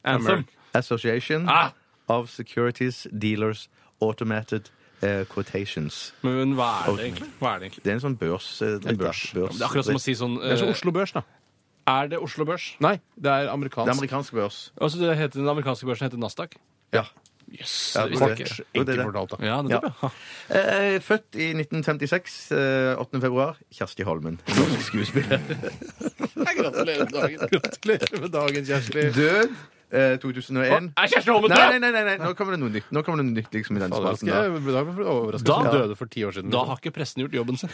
Anthem. Association Ah! of Securities Dealers Automated eh, Quotations. Men, men hva er det egentlig? Hva er det egentlig? Det er en sånn børs... eh, dritt, da. Børs. Ja, men Det er akkurat som å si sånn Det er så eh, Oslo Børs, da. Er det Oslo Børs? Nei, det er Det er amerikansk. amerikansk børs. Altså, det heter, den amerikanske børsen heter Nasdaq? Ja. Ja, det det er det. ikke. Jo, det er Enkelt det. fortalt, da. ja, Ja. nettopp, ja. Eh, født i 1956, eh, 8. februar. Kjersti Holmen, norsk skuespiller. Gratulerer med dagen. Gratulerer med dagen, Kjersti. Død eh, 2001. Er Kjersti Holmen Nei, død?! nei, nei, nei, nei, nå kommer det noe nytt Nå kommer det noe nytt liksom i denne Da spalten. skal da. jeg da ble jeg overrasket. Da- Hun døde for ti år siden. liksom. Da har ikke pressen gjort jobben sin.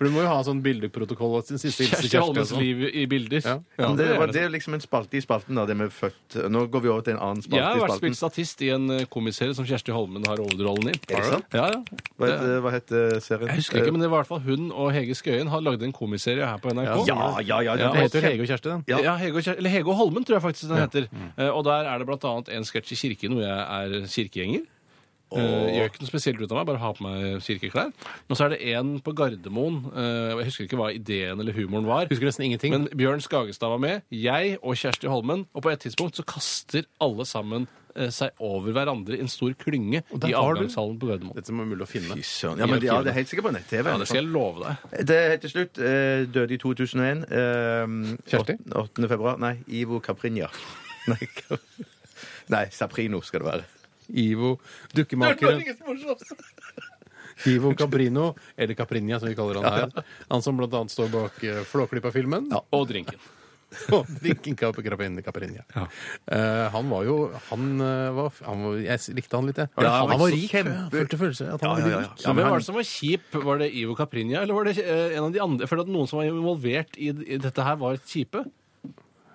For du må jo ha sånn bildeprotokoll av sin siste hilsen. Kjersti til Holmens Kjersti og sånn. liv i bilder. Ja. Men det, var, er det er liksom en spalte i spalten, da, det med født. Nå går vi over til en annen spalte Jeg har i vært spalten. spilt statist i en eh, komiserie som Kjersti Holmen har hovedrollen i. Er det sant? Ja, ja. Hva heter, hva heter serien? sånn, Jeg husker ikke, men det var i hvert fall hun og Hege Skøyen har lagd en komiserie her på NRK. Eh, Ja, ja, ja. Ja, Det heter jo Hege og Kjersti, den. Ja, Ja. Hege, og Kjer eller Hege og Holmen, tror jeg faktisk den heter. Mm. Eh, og der er det blant annet en sketsj i kirken hvor jeg er kirkegjenger. Eh, gjør ikke noe spesielt ut av meg, bare har på meg kirkeklær. Og så er det en på Gardermoen. eh, jeg husker ikke hva ideen eller humoren var. Husker nesten ingenting. Men Bjørn Skagestad var med, jeg og Kjersti Holmen. Og på et tidspunkt så kaster alle sammen eh, seg over hverandre i en stor klynge der i var du. avgangshallen på Gardermoen. Dette som er mulig å finne. Fy søren. Ja, men, det- ja, det er helt sikkert på nett-TV. Ja, det skal jeg love deg. Det er helt til slutt. eh, Døde i 2001. eh, Kjersti? 8. februar. Nei, Ivo Caprinja. Nei, Cap- Nei, Saprino skal det være. Ivo, dukkemakeren Ivo Caprino, eller Caprinja som vi kaller han her. Han som blant annet står bak eh, Flåklypa-filmen. Og drinken. Og drinken Cap- Caprin- Caprinja. Eh, han var jo Han eh, var, han var Jeg likte han litt, jeg. Ja, han, han var så rik. kjempe- Jeg Følte følelse at han Ja, ja, ja. var rik. Så men hvem var han- det som var kjip? Var det Ivo Caprinja, eller var det eh, en av de andre? Jeg føler at noen som var involvert i, i dette her, var kjipe.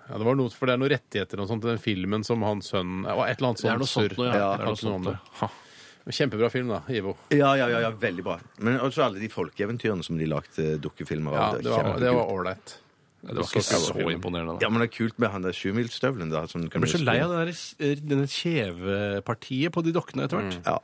Ja, det var noe, for det er noen rettigheter og sånt til den filmen som hans sønn Det var et eller annet Det er noe sånt surr. noe, ja. Ja, altså, Det er noe kan ikke noe om sånt det. Kjempebra film, da, Ivo. Ja, ja, ja, ja veldig bra. Men også alle de folkeeventyrene som de lagde eh, dukkefilmer Ja, av. det var- det var kjempekult. ålreit. Det var ikke så, imponerende. ja, men det er kult med han der sjumilsstøvelen. da, som kan Jeg ble så spille. lei av det der, denne kjevepartiet på de dokkene etter Mm. hvert. Ja.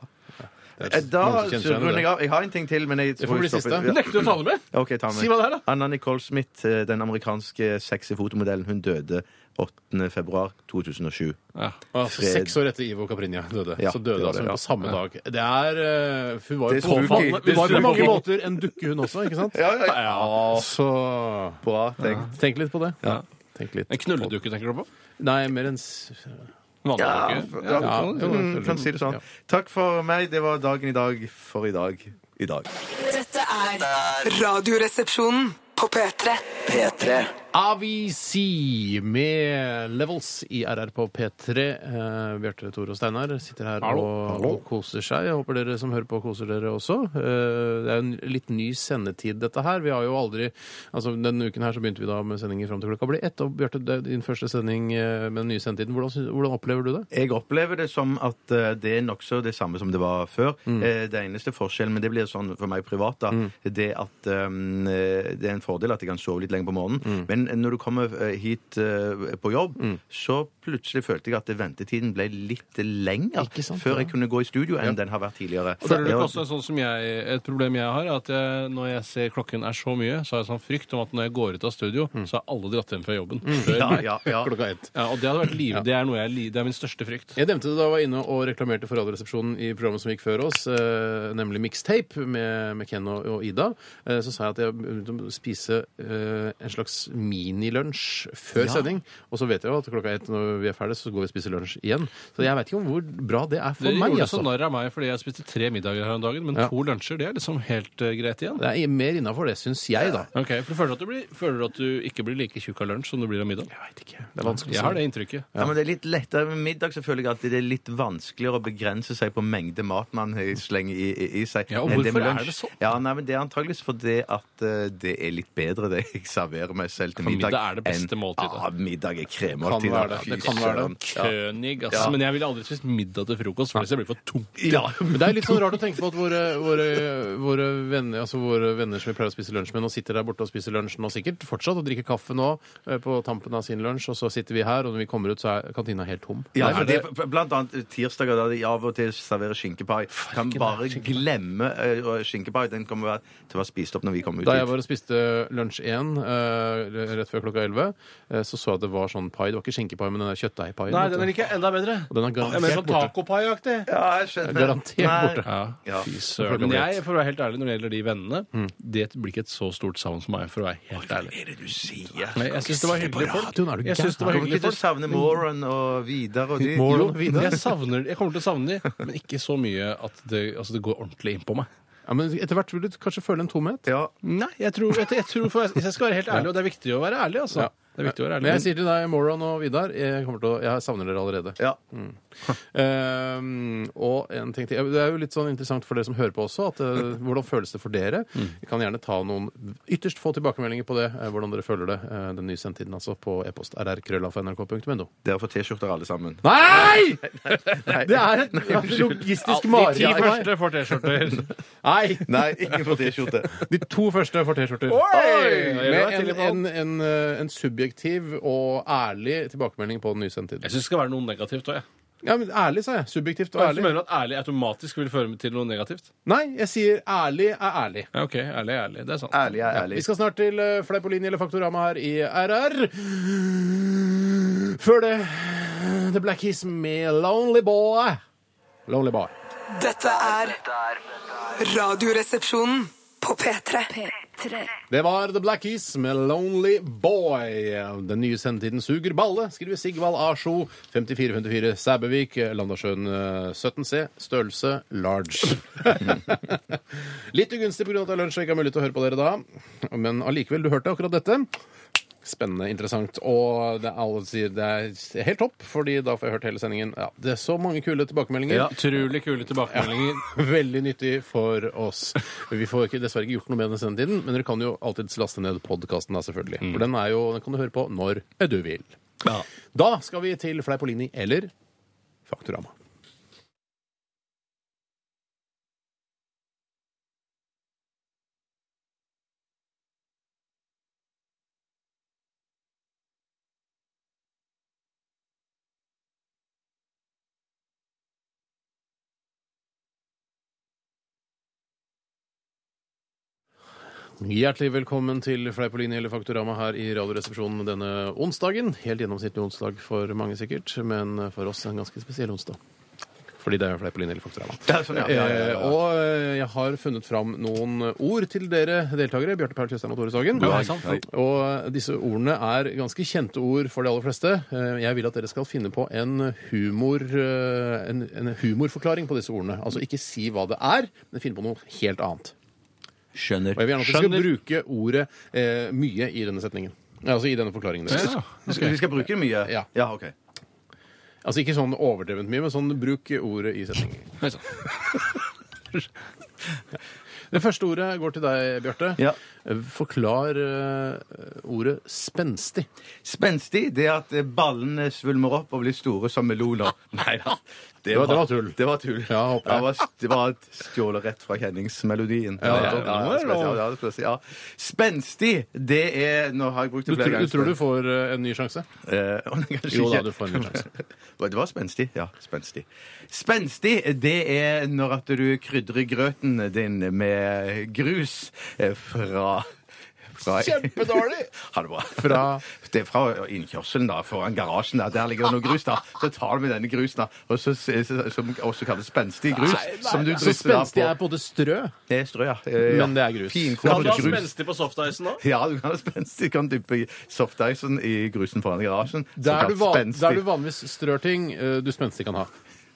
er så- Da mange som kjenner seg igjen i runder det. jeg av. Jeg har en ting til, men jeg får bli jeg stopper. siste. Ja. Nekter du å ta det med? Ok, ta med. Si hva det er, da. Anna Nicole Smith, eh, den amerikanske sexy fotomodellen, hun døde 8. februar 2007. Ja, så Fred. Seks år etter Ivo Caprinja døde. Ja, så døde det altså var hun det, ja. på samme dag. Det er eh, Hun var jo Det er på, spooky. hun Det er var på mange spooky. måter en dukke, hun også, ikke sant? Ja, ja, ja. Så Bra tenkt. tenk litt på det. Ja. Tenk litt. En knulledukke, tenker du på? Nei, mer enn s- En vanlig Ja, dukke? ja, ja, ja. mm, kan si det sånn. Ja. Takk for meg. Det var dagen i dag for i dag. I dag. Dette er Radioresepsjonen på P3. P3 AVC med Levels i RR på P3. Eh, Bjarte, Tore og Steinar sitter her Hallo. og, og koser seg. Jeg håper dere som hører på, koser dere også. Eh, det er jo en litt ny sendetid, dette her. Vi har jo aldri Altså, Denne uken her så begynte vi da med sendinger fram til klokka ble ett. Og Bjarte, det er din første sending eh, med den nye sendetiden. Hvordan, sy- hvordan opplever du det? Jeg opplever det som at eh, det er nokså det samme som det var før. Mm. Eh, Det eneste forskjellen, men det blir sånn for meg privat, da, det er at um, eh, det er en fordel at jeg kan sove litt lenger på Mm. morgenen. Men når du kommer eh, hit eh, på jobb, så plutselig følte jeg at ventetiden ble litt lenger Ikke sant, ja. før jeg kunne gå i studio enn den har vært tidligere. Føler du Ja, ikke også sånn som jeg, Et problem jeg har, er at jeg, når jeg ser klokken er så mye, så har jeg sånn frykt om at når jeg går ut av studio, så er alle dratt hjem fra jobben. Før Mm. ja, meg. ja, ja. Klokka ett. Ja, og det hadde vært livet. Det er noe jeg li- Det er min største frykt. Jeg nevnte det da jeg var inne og reklamerte for Radioresepsjonen i programmet som gikk før oss, eh, nemlig Mixtape med, med Ken og, og Ida. Eh, så sa jeg at jeg begynte å spise eh, en slags minilunsj før sending. Og så vet jeg jo at klokka ett når vi er ferdige, så går vi og spiser lunsj igjen. Så jeg veit ikke om hvor bra det er for Dere meg. gjorde så Altså. narr av meg fordi jeg spiste tre middager her om dagen, men Ja. to lunsjer det er liksom helt eh, greit igjen. Det er mer innafor det, syns jeg, da. Ok, for du føler, at du blir, føler du at du ikke blir like tjukk av lunsj som du blir av middag? Jeg veit ikke. Det er vanskelig Jeg å har det si. inntrykket. Ja, men det er litt lettere med middag, så føler jeg alltid det er litt vanskeligere å begrense seg på mengde mat man slenger i, i, i seg. Ja, og enn hvorfor med er lunsj. det sånn? Ja, nei, men Det er antageligvis fordi at eh, det er litt bedre det jeg serverer meg selv til For middag middag. er det beste måltidet. Ja, middag er Kan kremmåltid. være da. det. Fy Det kan være det. søren. Ja. Kønig, Sånn ass. Men jeg ville aldri spist middag til frokost, for hvis jeg blir for tung. Ja. Men det er litt sånn rart å tenke på at våre, våre, våre, venner, altså våre venner som vi pleier å spise lunsj med, nå sitter der borte og spiser lunsj nå sikkert fortsatt og drikker kaffe nå eh, på tampen av sin lunsj, og så sitter vi her, og når vi kommer ut, så er kantina helt tom. Ja, Nei, for for det, blant annet tirsdager da de av og til serverer skinkepai. Kan bare glemme uh, skinkepai. Den kommer til å være spist opp når vi kommer ut. Da jeg hit. var og spiste lunsj 1 eh, rett før klokka 11, eh, så så jeg at det var sånn pai. Det var ikke skinkepai, men den der kjøttdeigpaien. vet du. ikke enda bedre. Og den er sånn garantert borte. tacopai-aktig. ja, jeg skjønner. Garantert Nei. borte. Ja. Fy søren. Men jeg, for å være helt ærlig, når det gjelder de vennene, det blir ikke et så stort savn for meg, for å være helt ærlig. Hva er Mm. det du sier? Nei, jeg syns det var hyggelige folk. radioen, er du Jeg synes det var Kommer du hyggelige ikke til å folk. savne Moran og Vidar og de? Jo, jeg, savner, jeg kommer til å savne de, men ikke så mye at det, altså det går ordentlig inn på meg. Ja, men etter hvert vil du kanskje føle en tomhet. Ja. Nei, jeg tror, jeg, jeg tror for, Hvis jeg skal være helt ærlig, og det er viktig å være ærlig, altså, Ja. Det er viktig å Men være jeg ærlig. sier til deg, Moron og Vidar, jeg, kommer til å, jeg savner dere allerede. Ja. Ehm, og en ting til. Det er jo litt sånn interessant for dere som hører på også. At, eh, hvordan føles det for dere? Vi kan gjerne ta noen ytterst få tilbakemeldinger på det. eh, hvordan dere føler det eh, den nye sendetiden, altså. På e-post rrkrøllafnrk.no. Dere får T-skjorter alle sammen. Nei! Det er et logistisk mareritt. De ti første får T-skjorter. Nei! Nei, ikke får T-skjorte. De to første får T-skjorter. Med en, en, en, eh, en subjektiv og ærlig tilbakemelding på den nye sendetiden. Jeg syns det skal være noe negativt òg, jeg. Ja, men ærlig, sa jeg. Subjektivt og Hva er det ærlig. som mener at ærlig automatisk vil føre til noe negativt? Nei, jeg sier ærlig er ærlig. Ja, OK. Ærlig er ærlig. Det er sant. Ærlig er ærlig. Vi skal snart til eh, Fleipolini eller Faktorama her i RR. Før det eh, The Black Keys med Lonely Boy. Lonely Boy. Dette er Radioresepsjonen på P3. Det var The Black Keys med Lonely Boy. Den nye sendetiden suger balle, skriver Sigvald Asjo. 5454 Sæbøvik, Landasjøen eh, 17C, størrelse large. Litt ugunstig pga. at det er lunsj og ikke har mulighet til å høre på dere da, men allikevel, du hørte akkurat dette. Spennende, interessant, og det er alle sier det er helt topp, fordi da får jeg hørt hele sendingen. Ja, det er så mange kule tilbakemeldinger. Ja, Utrolig kule tilbakemeldinger. Veldig nyttig for oss. Vi får ikke, dessverre ikke gjort noe med den sendetiden, men dere kan jo alltids laste ned podkasten, selvfølgelig. For den, er jo, den kan du høre på når du vil. Da skal vi til Fleipolini eller Faktorama. Hjertelig velkommen til Fleipolini eller Faktorama her i Radioresepsjonen denne onsdagen. Helt gjennomsnittlig onsdag for mange, sikkert, men for oss en ganske spesiell onsdag. Fordi det er Fleipolini eller Faktorama. Ja, sånn, ja. Ja, ja, Eh, ja. Og eh, jeg har funnet fram noen ord til dere deltakere. Bjarte Paul Tjøstheim og Tore Sagen. Ja, hei sann. Hei. Og disse ordene er ganske kjente ord for de aller fleste. Eh, Jeg vil at dere skal finne på en, humor, eh, en, en humorforklaring på disse ordene. Altså ikke si hva det er, men finne på noe helt annet. Skjønner. Og jeg vil gjerne at dere skal Skjønner. bruke ordet eh, mye i denne setningen. Altså i denne forklaringen deres. Vi skal- Vi skal bruke det mye? Ja. ja OK. Altså ikke sånn overdrevent mye, men sånn bruk ordet i setningen. Nei, sant. Det første ordet går til deg, Bjarte. Ja. Eh, Forklar eh, ordet spenstig. Spenstig det er at ballene svulmer opp og blir store som meloner. Nei da. Det var- det var tull. Det var tull. Ja, håper jeg. Det var, det var stjålet rett fra kjenningsmelodien. Ja, ja, ja, det skulle jeg si, ja, det skulle jeg si, ja. Spenstig, det er Nå har jeg brukt Du, det flere tror- du ganger. tror du får eh, en ny sjanse? Eh, å, nei, kanskje Jo da, ikke. du får en ny sjanse. det var spenstig. Ja, spenstig. Spenstig, det er når at du krydrer grøten din med grus eh, fra, fra Kjempedårlig! Ha det bra. Fra- Det er fra innkjørselen, da, foran garasjen. Der, der ligger det noe grus, da. Så tar du med denne grusen, da, og så, som også kalles spenstig grus, som Så du drysser da altså, spenstig er på det strø. Det er strø, ja. Eh, ja. Men det er grus. Kan Finkornet du ha grus. spenstig på softicen òg? Ja, du kan ha spenstig. Du kan dyppe softicen i grusen foran garasjen. Der du, såkalt van, spenstig. der du vanligvis strør ting eh, du spenstig kan ha.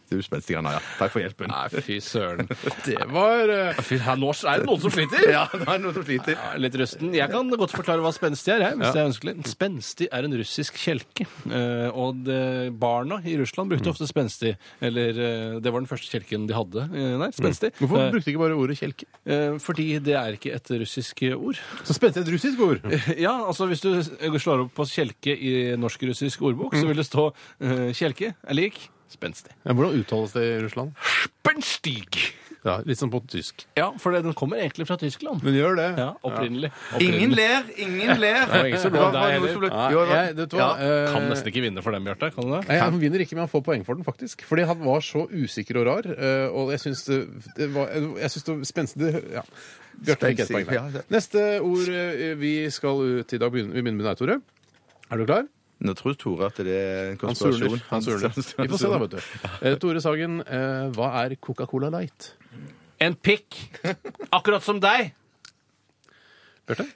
Du spenstig, Anna. Ja. Takk for hjelpen. Nei, fy søren. Det var eh, Fy, her nå er det noen som sliter. Ja, det er noen som sliter. Jeg er Litt rusten. Jeg kan godt forklare hva spenstig er. Jeg, hvis det er ønskelig. Spenstig er en russisk kjelke. eh, Og det, barna i Russland Mm. brukte ofte spenstig. Eller eh, det var den første kjelken de hadde. eh, Nei, spenstig. Mm. Hvorfor Eh, brukte du ikke bare ordet kjelke? eh, Fordi det er ikke et russisk eh, ord. Så spenstig er et russisk ord. Ja, altså Hvis du slår opp på kjelke i norsk-russisk ordbok, Mm. så vil det stå eh, kjelke er lik spenstig. Ja, hvordan uttales det i Russland? Spenstig! Ja, Litt sånn på tysk. Ja, for det- den kommer egentlig fra Tyskland. Den gjør det. Ja, Opprinnelig. Ingen ler, ingen ler. var ingen som lo Det var av deg noen som heller. lo- Ja, Jo, det var- jeg, vet du hva? Ja. eh, Kan nesten ikke vinne for dem, Bjarte. Kan du det? Nei, Han vinner ikke, men han får poeng for den, faktisk. Fordi han var så usikker og rar. eh, Og jeg syns det, det var Jeg syns det var spenstig ja. Bjarte fikk ett poeng Ja, der. det- Neste ord eh, vi skal ut i dag, begynner, vi begynner med deg, Tore. Er du klar? Nå tror Tore at det er en Han konspirasjon. surner. Han surner. Vi får se, da, vet du. Eh, Tore Sagen, eh, hva er Coca-Cola Light? En pikk! Akkurat som deg!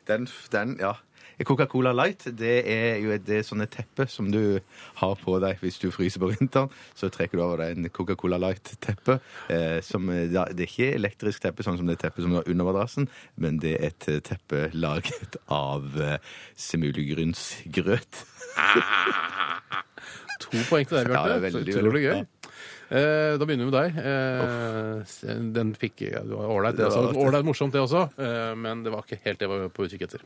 Den, den, ja. Coca-Cola Light det er jo et det er sånne teppe som du har på deg hvis du fryser på vinteren. Så trekker du over deg en Coca-Cola Light-teppe. Eh, som, eh, da- det er ikke elektrisk teppe, sånn som det teppet som er under madrassen, men det er et eh, teppe laget av eh, smulgrynsgrøt. To poeng til deg, Ja, det er Bjarte. veldig, Utrolig veldig. gøy. Eh, da begynner vi med deg. Eh, s- den fikk ja, Det var ålreit, det Det var også. artig. Ålreit morsomt, det også. Eh, men det var ikke helt det jeg var på utkikk etter.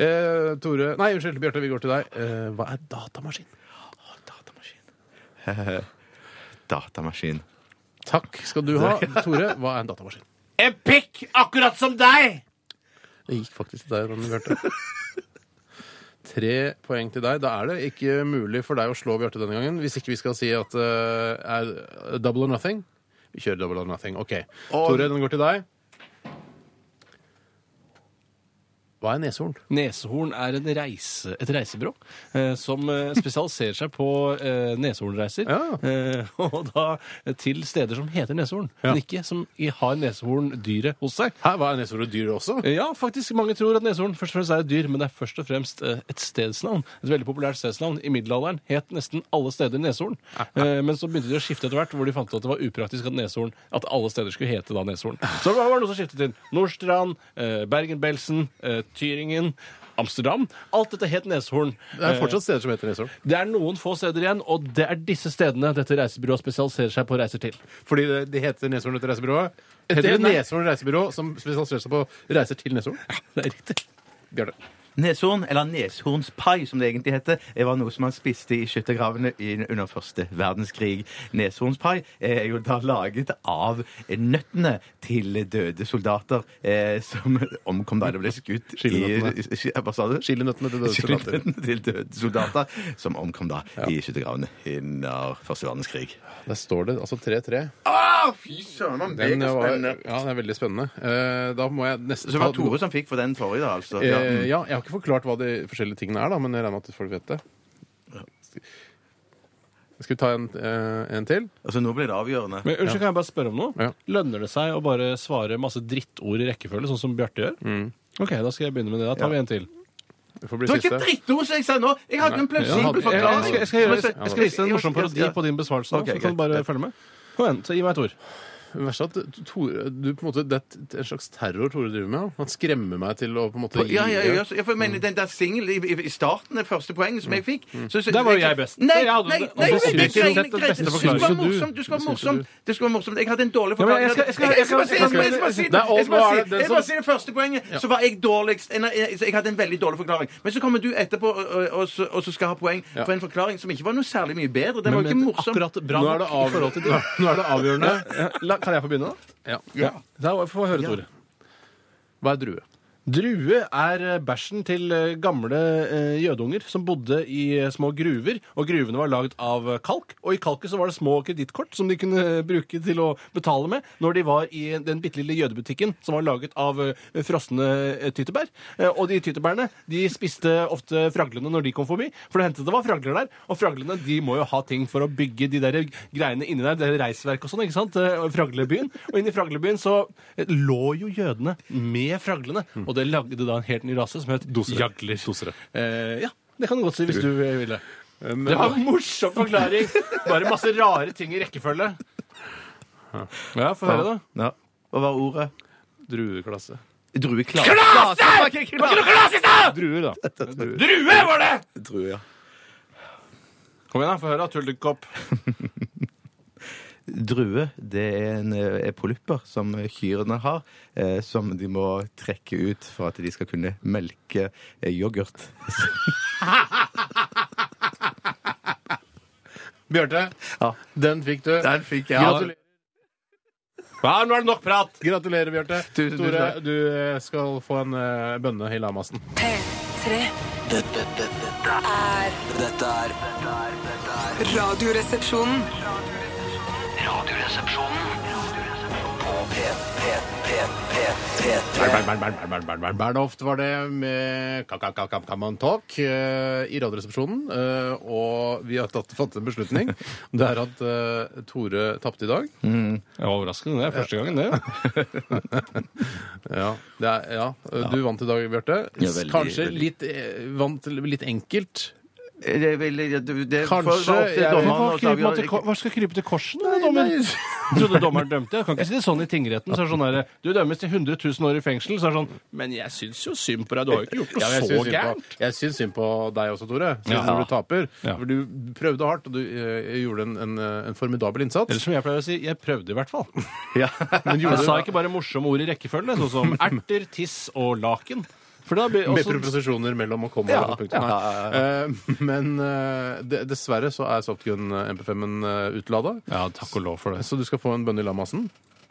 Eh, Tore Nei, unnskyld, Bjarte, vi går til deg. Eh, hva er datamaskin? Datamaskin. Takk skal du ha. Tore, hva er en datamaskin? En pikk, akkurat som deg! Det gikk faktisk til deg, Ronny Bjarte. Tre poeng til deg. Da er det ikke mulig for deg å slå Bjarte denne gangen, hvis ikke vi skal si at det er double or nothing. Vi kjører double or nothing. OK. Tore, den går til deg. Hva er neshorn? Nesehorn er en reise, et reisebyrå eh, som eh, spesialiserer seg på eh, neshornreiser. Ja. Eh, og da til steder som heter neshorn, Ja. men ikke som i- har neshorndyret hos seg. Hæ, hva er neshorn og dyr også? Eh, Ja, faktisk. Mange tror at neshorn først og fremst er et dyr, men det er først og fremst eh, et stedsnavn. Et veldig populært stedsnavn. I middelalderen het nesten alle steder neshorn. Eh, Men så begynte de å skifte etter hvert, hvor de fant ut at det var upraktisk at neshorn, at alle steder skulle hete da neshorn. Så det var det noe som skiftet inn. Nordstrand, eh, Bergen-Belsen, eh, Tyringen. Amsterdam. Alt dette het neshorn. Det er fortsatt steder som heter neshorn. Det er noen få steder igjen, og det er disse stedene dette reisebyrået spesialiserer seg på reiser til. Fordi det, de heter Neshorn etter reisebyrået? Heter det nei. Neshorn reisebyrå som spesialiserer seg på reiser til neshorn? Det er riktig. Bjarte. Neshorn, eller neshornspai som det egentlig heter, det var noe som man spiste i skyttergravene i- under første verdenskrig. Neshornspai eh, er jo da laget av nøttene til døde soldater eh, som omkom da de ble skutt Skillenøttene. i- i- i- Hva sa du? Chilinøttene til døde soldater. Skillenøttene til døde soldater som omkom da i skyttergravene under første verdenskrig. Der står det altså 3-3. Ah, fy søren, man, det Den er var, spennende. ja, det er veldig spennende. Eh, da må jeg nesten Så det var Tore som fikk for den forrige, da, altså. Ja. Eh, ja, jeg har ikke forklart hva de forskjellige tingene er, da, men jeg regner med at folk vet det. Skal vi ta en, eh, en til? Altså, nå blir det avgjørende. Men unnskyld, kan jeg bare spørre om noe? Ja. Lønner det seg å bare svare masse drittord i rekkefølge, sånn som Bjarte gjør? Mm. Ok, da skal jeg begynne med det. Da tar vi en til. Det får bli Det var ikke siste. et drittord som jeg sa nå! Jeg hadde en Jeg, plausibel jeg, forklaring. skal, jeg, skal, gjøre, jeg skal vise en morsom parodi på din besvarelse, nå, Ok, så kan greit. du bare følge med. Kom igjen, så gi meg et ord. Det verste er at Tore, du på en måte, det er en slags terror Tore driver med. ja. Han skremmer meg til å på en måte gi- Ja, ja, ja, ja, for jeg mener, den der singel i, i- i starten, det første poenget som jeg fikk så, så, Mm. Der var jo jeg best. Nei, Jeg nei, hadde- nei, altså, nei, jeg men synes det er ikke jeg greit. har sett den beste Du skal være forklaringen. Synes du- morsom. Du skal være synes morsom. du- Du skal være morsom. Jeg hadde en dårlig Ja, men forklaring. jeg skal- jeg skal- Jeg skal bare si- jeg skal bare si- jeg skal bare si- Det er jeg skal bare overalt, si- det jeg skal bare si det første poenget, så var jeg dårligst. Nei, Jeg jeg hadde en veldig dårlig forklaring. Men så kommer du etterpå og, og- og, så- og så skal ha poeng for en forklaring som ikke var noe særlig mye bedre. Den var jo ikke morsom. akkurat bra Nå er, nok det av, i forhold til nå er- nå er det avgjørende. La, kan jeg få begynne, da? Ja. Da Få høre, Tore. Hva er drue? Drue er eh, bæsjen til eh, gamle eh, jødunger som bodde i eh, små gruver. Og gruvene var lagd av eh, kalk, og i kalket så var det små kredittkort som de kunne eh, bruke til å betale med når de var i den bitte lille jødebutikken som var laget av eh, frosne eh, tyttebær. Eh, Og de tyttebærene de spiste ofte fraglene når de kom forbi, for det hendte det var fragler der. Og fraglene de må jo ha ting for å bygge de der greiene inni der, det er reisverk og sånn, ikke sant? Eh, og Fraglebyen. Og inni Fraglebyen så eh, lå jo jødene med fraglene, og det lagde da en helt ny rase som het jagler. Eh, ja, det kan du godt si hvis du eh, ville. det var en morsom forklaring! Bare masse rare ting i rekkefølge. Ja, få høre, da. Ja. Hva var ordet? Drueklasse. Drueklase! Druer, da. Drue var det! Drue, ja. Kom igjen, da. Få høre, da. Tullekopp. Drue det er en eh, polypper som kyrne har, eh, som de må trekke ut for at de skal kunne melke eh, yoghurt. Bjarte, Ja. den fikk du. Den fikk jeg. Gratulerer. Ja, nå er det nok prat! Gratulerer, Bjarte. Tusen, tusen Tore, takk. du eh, skal få en eh, bønne i lamasen. P3. Dette, dette, dette, Er dette er dette er- dette er Radioresepsjonen. Radioresepsjonen på Bern, Bern, Bern, Bern, Bern, Bern, Bern, Bernhoft var det med Kakakakamantåk i Radioresepsjonen. eh, Og vi har tatt, fått en beslutning. Det er at eh, Tore tapte i dag. Det var overraskende, det. er Første gangen, det. Ja, det er, ja. Du vant i dag, Bjarte. Ja, veldig, Kanskje veldig. litt, eh, vant litt enkelt. Eh, Det vil, det, det Kanskje, får være opp til jeg- dommeren å ta Hva, kryper man til, avgjørelse. ko- hva skal krype til korset med dommen? Jeg trodde dommeren dømte. Jeg kan ikke si det sånn i tingretten. Så er det sånn der, Du dømmes til 100 000 år i fengsel. Så er det sånn Men jeg syns jo synd på deg. Du har jo ikke Ja, gjort men noe jeg så syns synd, gærent. på- jeg syns synd på deg også, Tore. Siden Ja. når du taper. Ja. For du prøvde hardt, og du eh, gjorde en, en, eh, en formidabel innsats. Eller som jeg pleier å si, jeg prøvde i hvert fall. Ja. Men jeg sa ikke bare morsomme ord i rekkefølge, sånn som erter, tiss og laken. For da blir Med også proposisjoner mellom og komma Ja, og punktum. Nei. Eh, Men eh, de- dessverre så er softgun eh, MP5-en eh, utlada. Ja, takk og lov for det. Så du skal få en bønne i lamasen,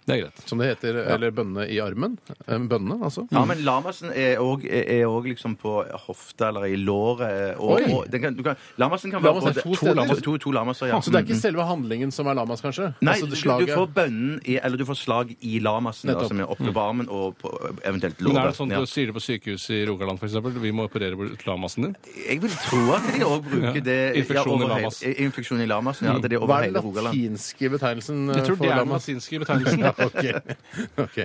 Det er greit. som det heter. Eller bønne i armen. En bønne, altså. Ja, men lamasen er òg er òg liksom på hofta eller i låret. eh, Og, Oi. og den kan, du kan, lamasen kan være Lamasen er både- to steder. lamaser- to, to lamaser, ja. Mm. Så det er ikke Mm. selve handlingen som er lamas, kanskje? Nei, altså, det du, du slaget. får bønnen i, Eller du får slag i lamasen, da, Nettopp. Mm. som er oppe på armen, og på, eventuelt Men låret. er det sånn Ja. du sier det på sykehuset i Rogaland f.eks.? Vi må operere bort lamasen din? Jeg vil tro at de òg bruker Ja. det Infeksjon i over hele- lamas. Infeksjon i lamasen, ja. At det er over Hva er hele den Rogaland. latinske betegnelsen eh, Jeg tror for det er den lamas? latinske betegnelsen. Ok. Ok.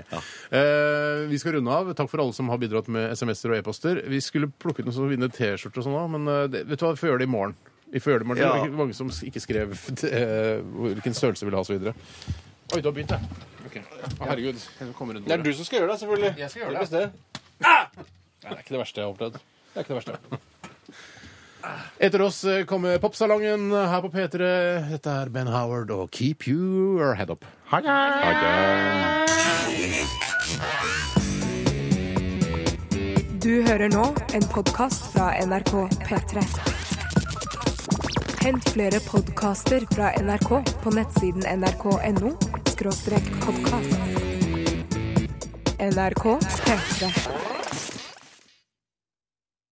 Eh, vi skal runde av. Takk for alle som har bidratt med SMS-er og e-poster. Vi skulle plukke ut noen som vinner T-skjorte og sånn òg, men eh, det, vet du hva, vi får gjøre det i morgen. Vi får gjøre det i morgen. Ja. Det var ikke mange som ikke skrev eh, hvilken størrelse vi ville ha osv. Oi, du har begynt, jeg. Å, herregud. Jeg skal komme rundt bordet. du som skal gjøre det, selvfølgelig. Jeg skal gjøre det. Ah! Nei, det er ikke det verste jeg har opplevd. Det er ikke det verste. Etter oss eh, kommer Popsalongen her på P3. Dette er Ben Howard og Keep Your Head Up. Du hører nå en podkast fra NRK P3. Hent flere podkaster fra NRK på nettsiden nrk.no podkast. NRK P3.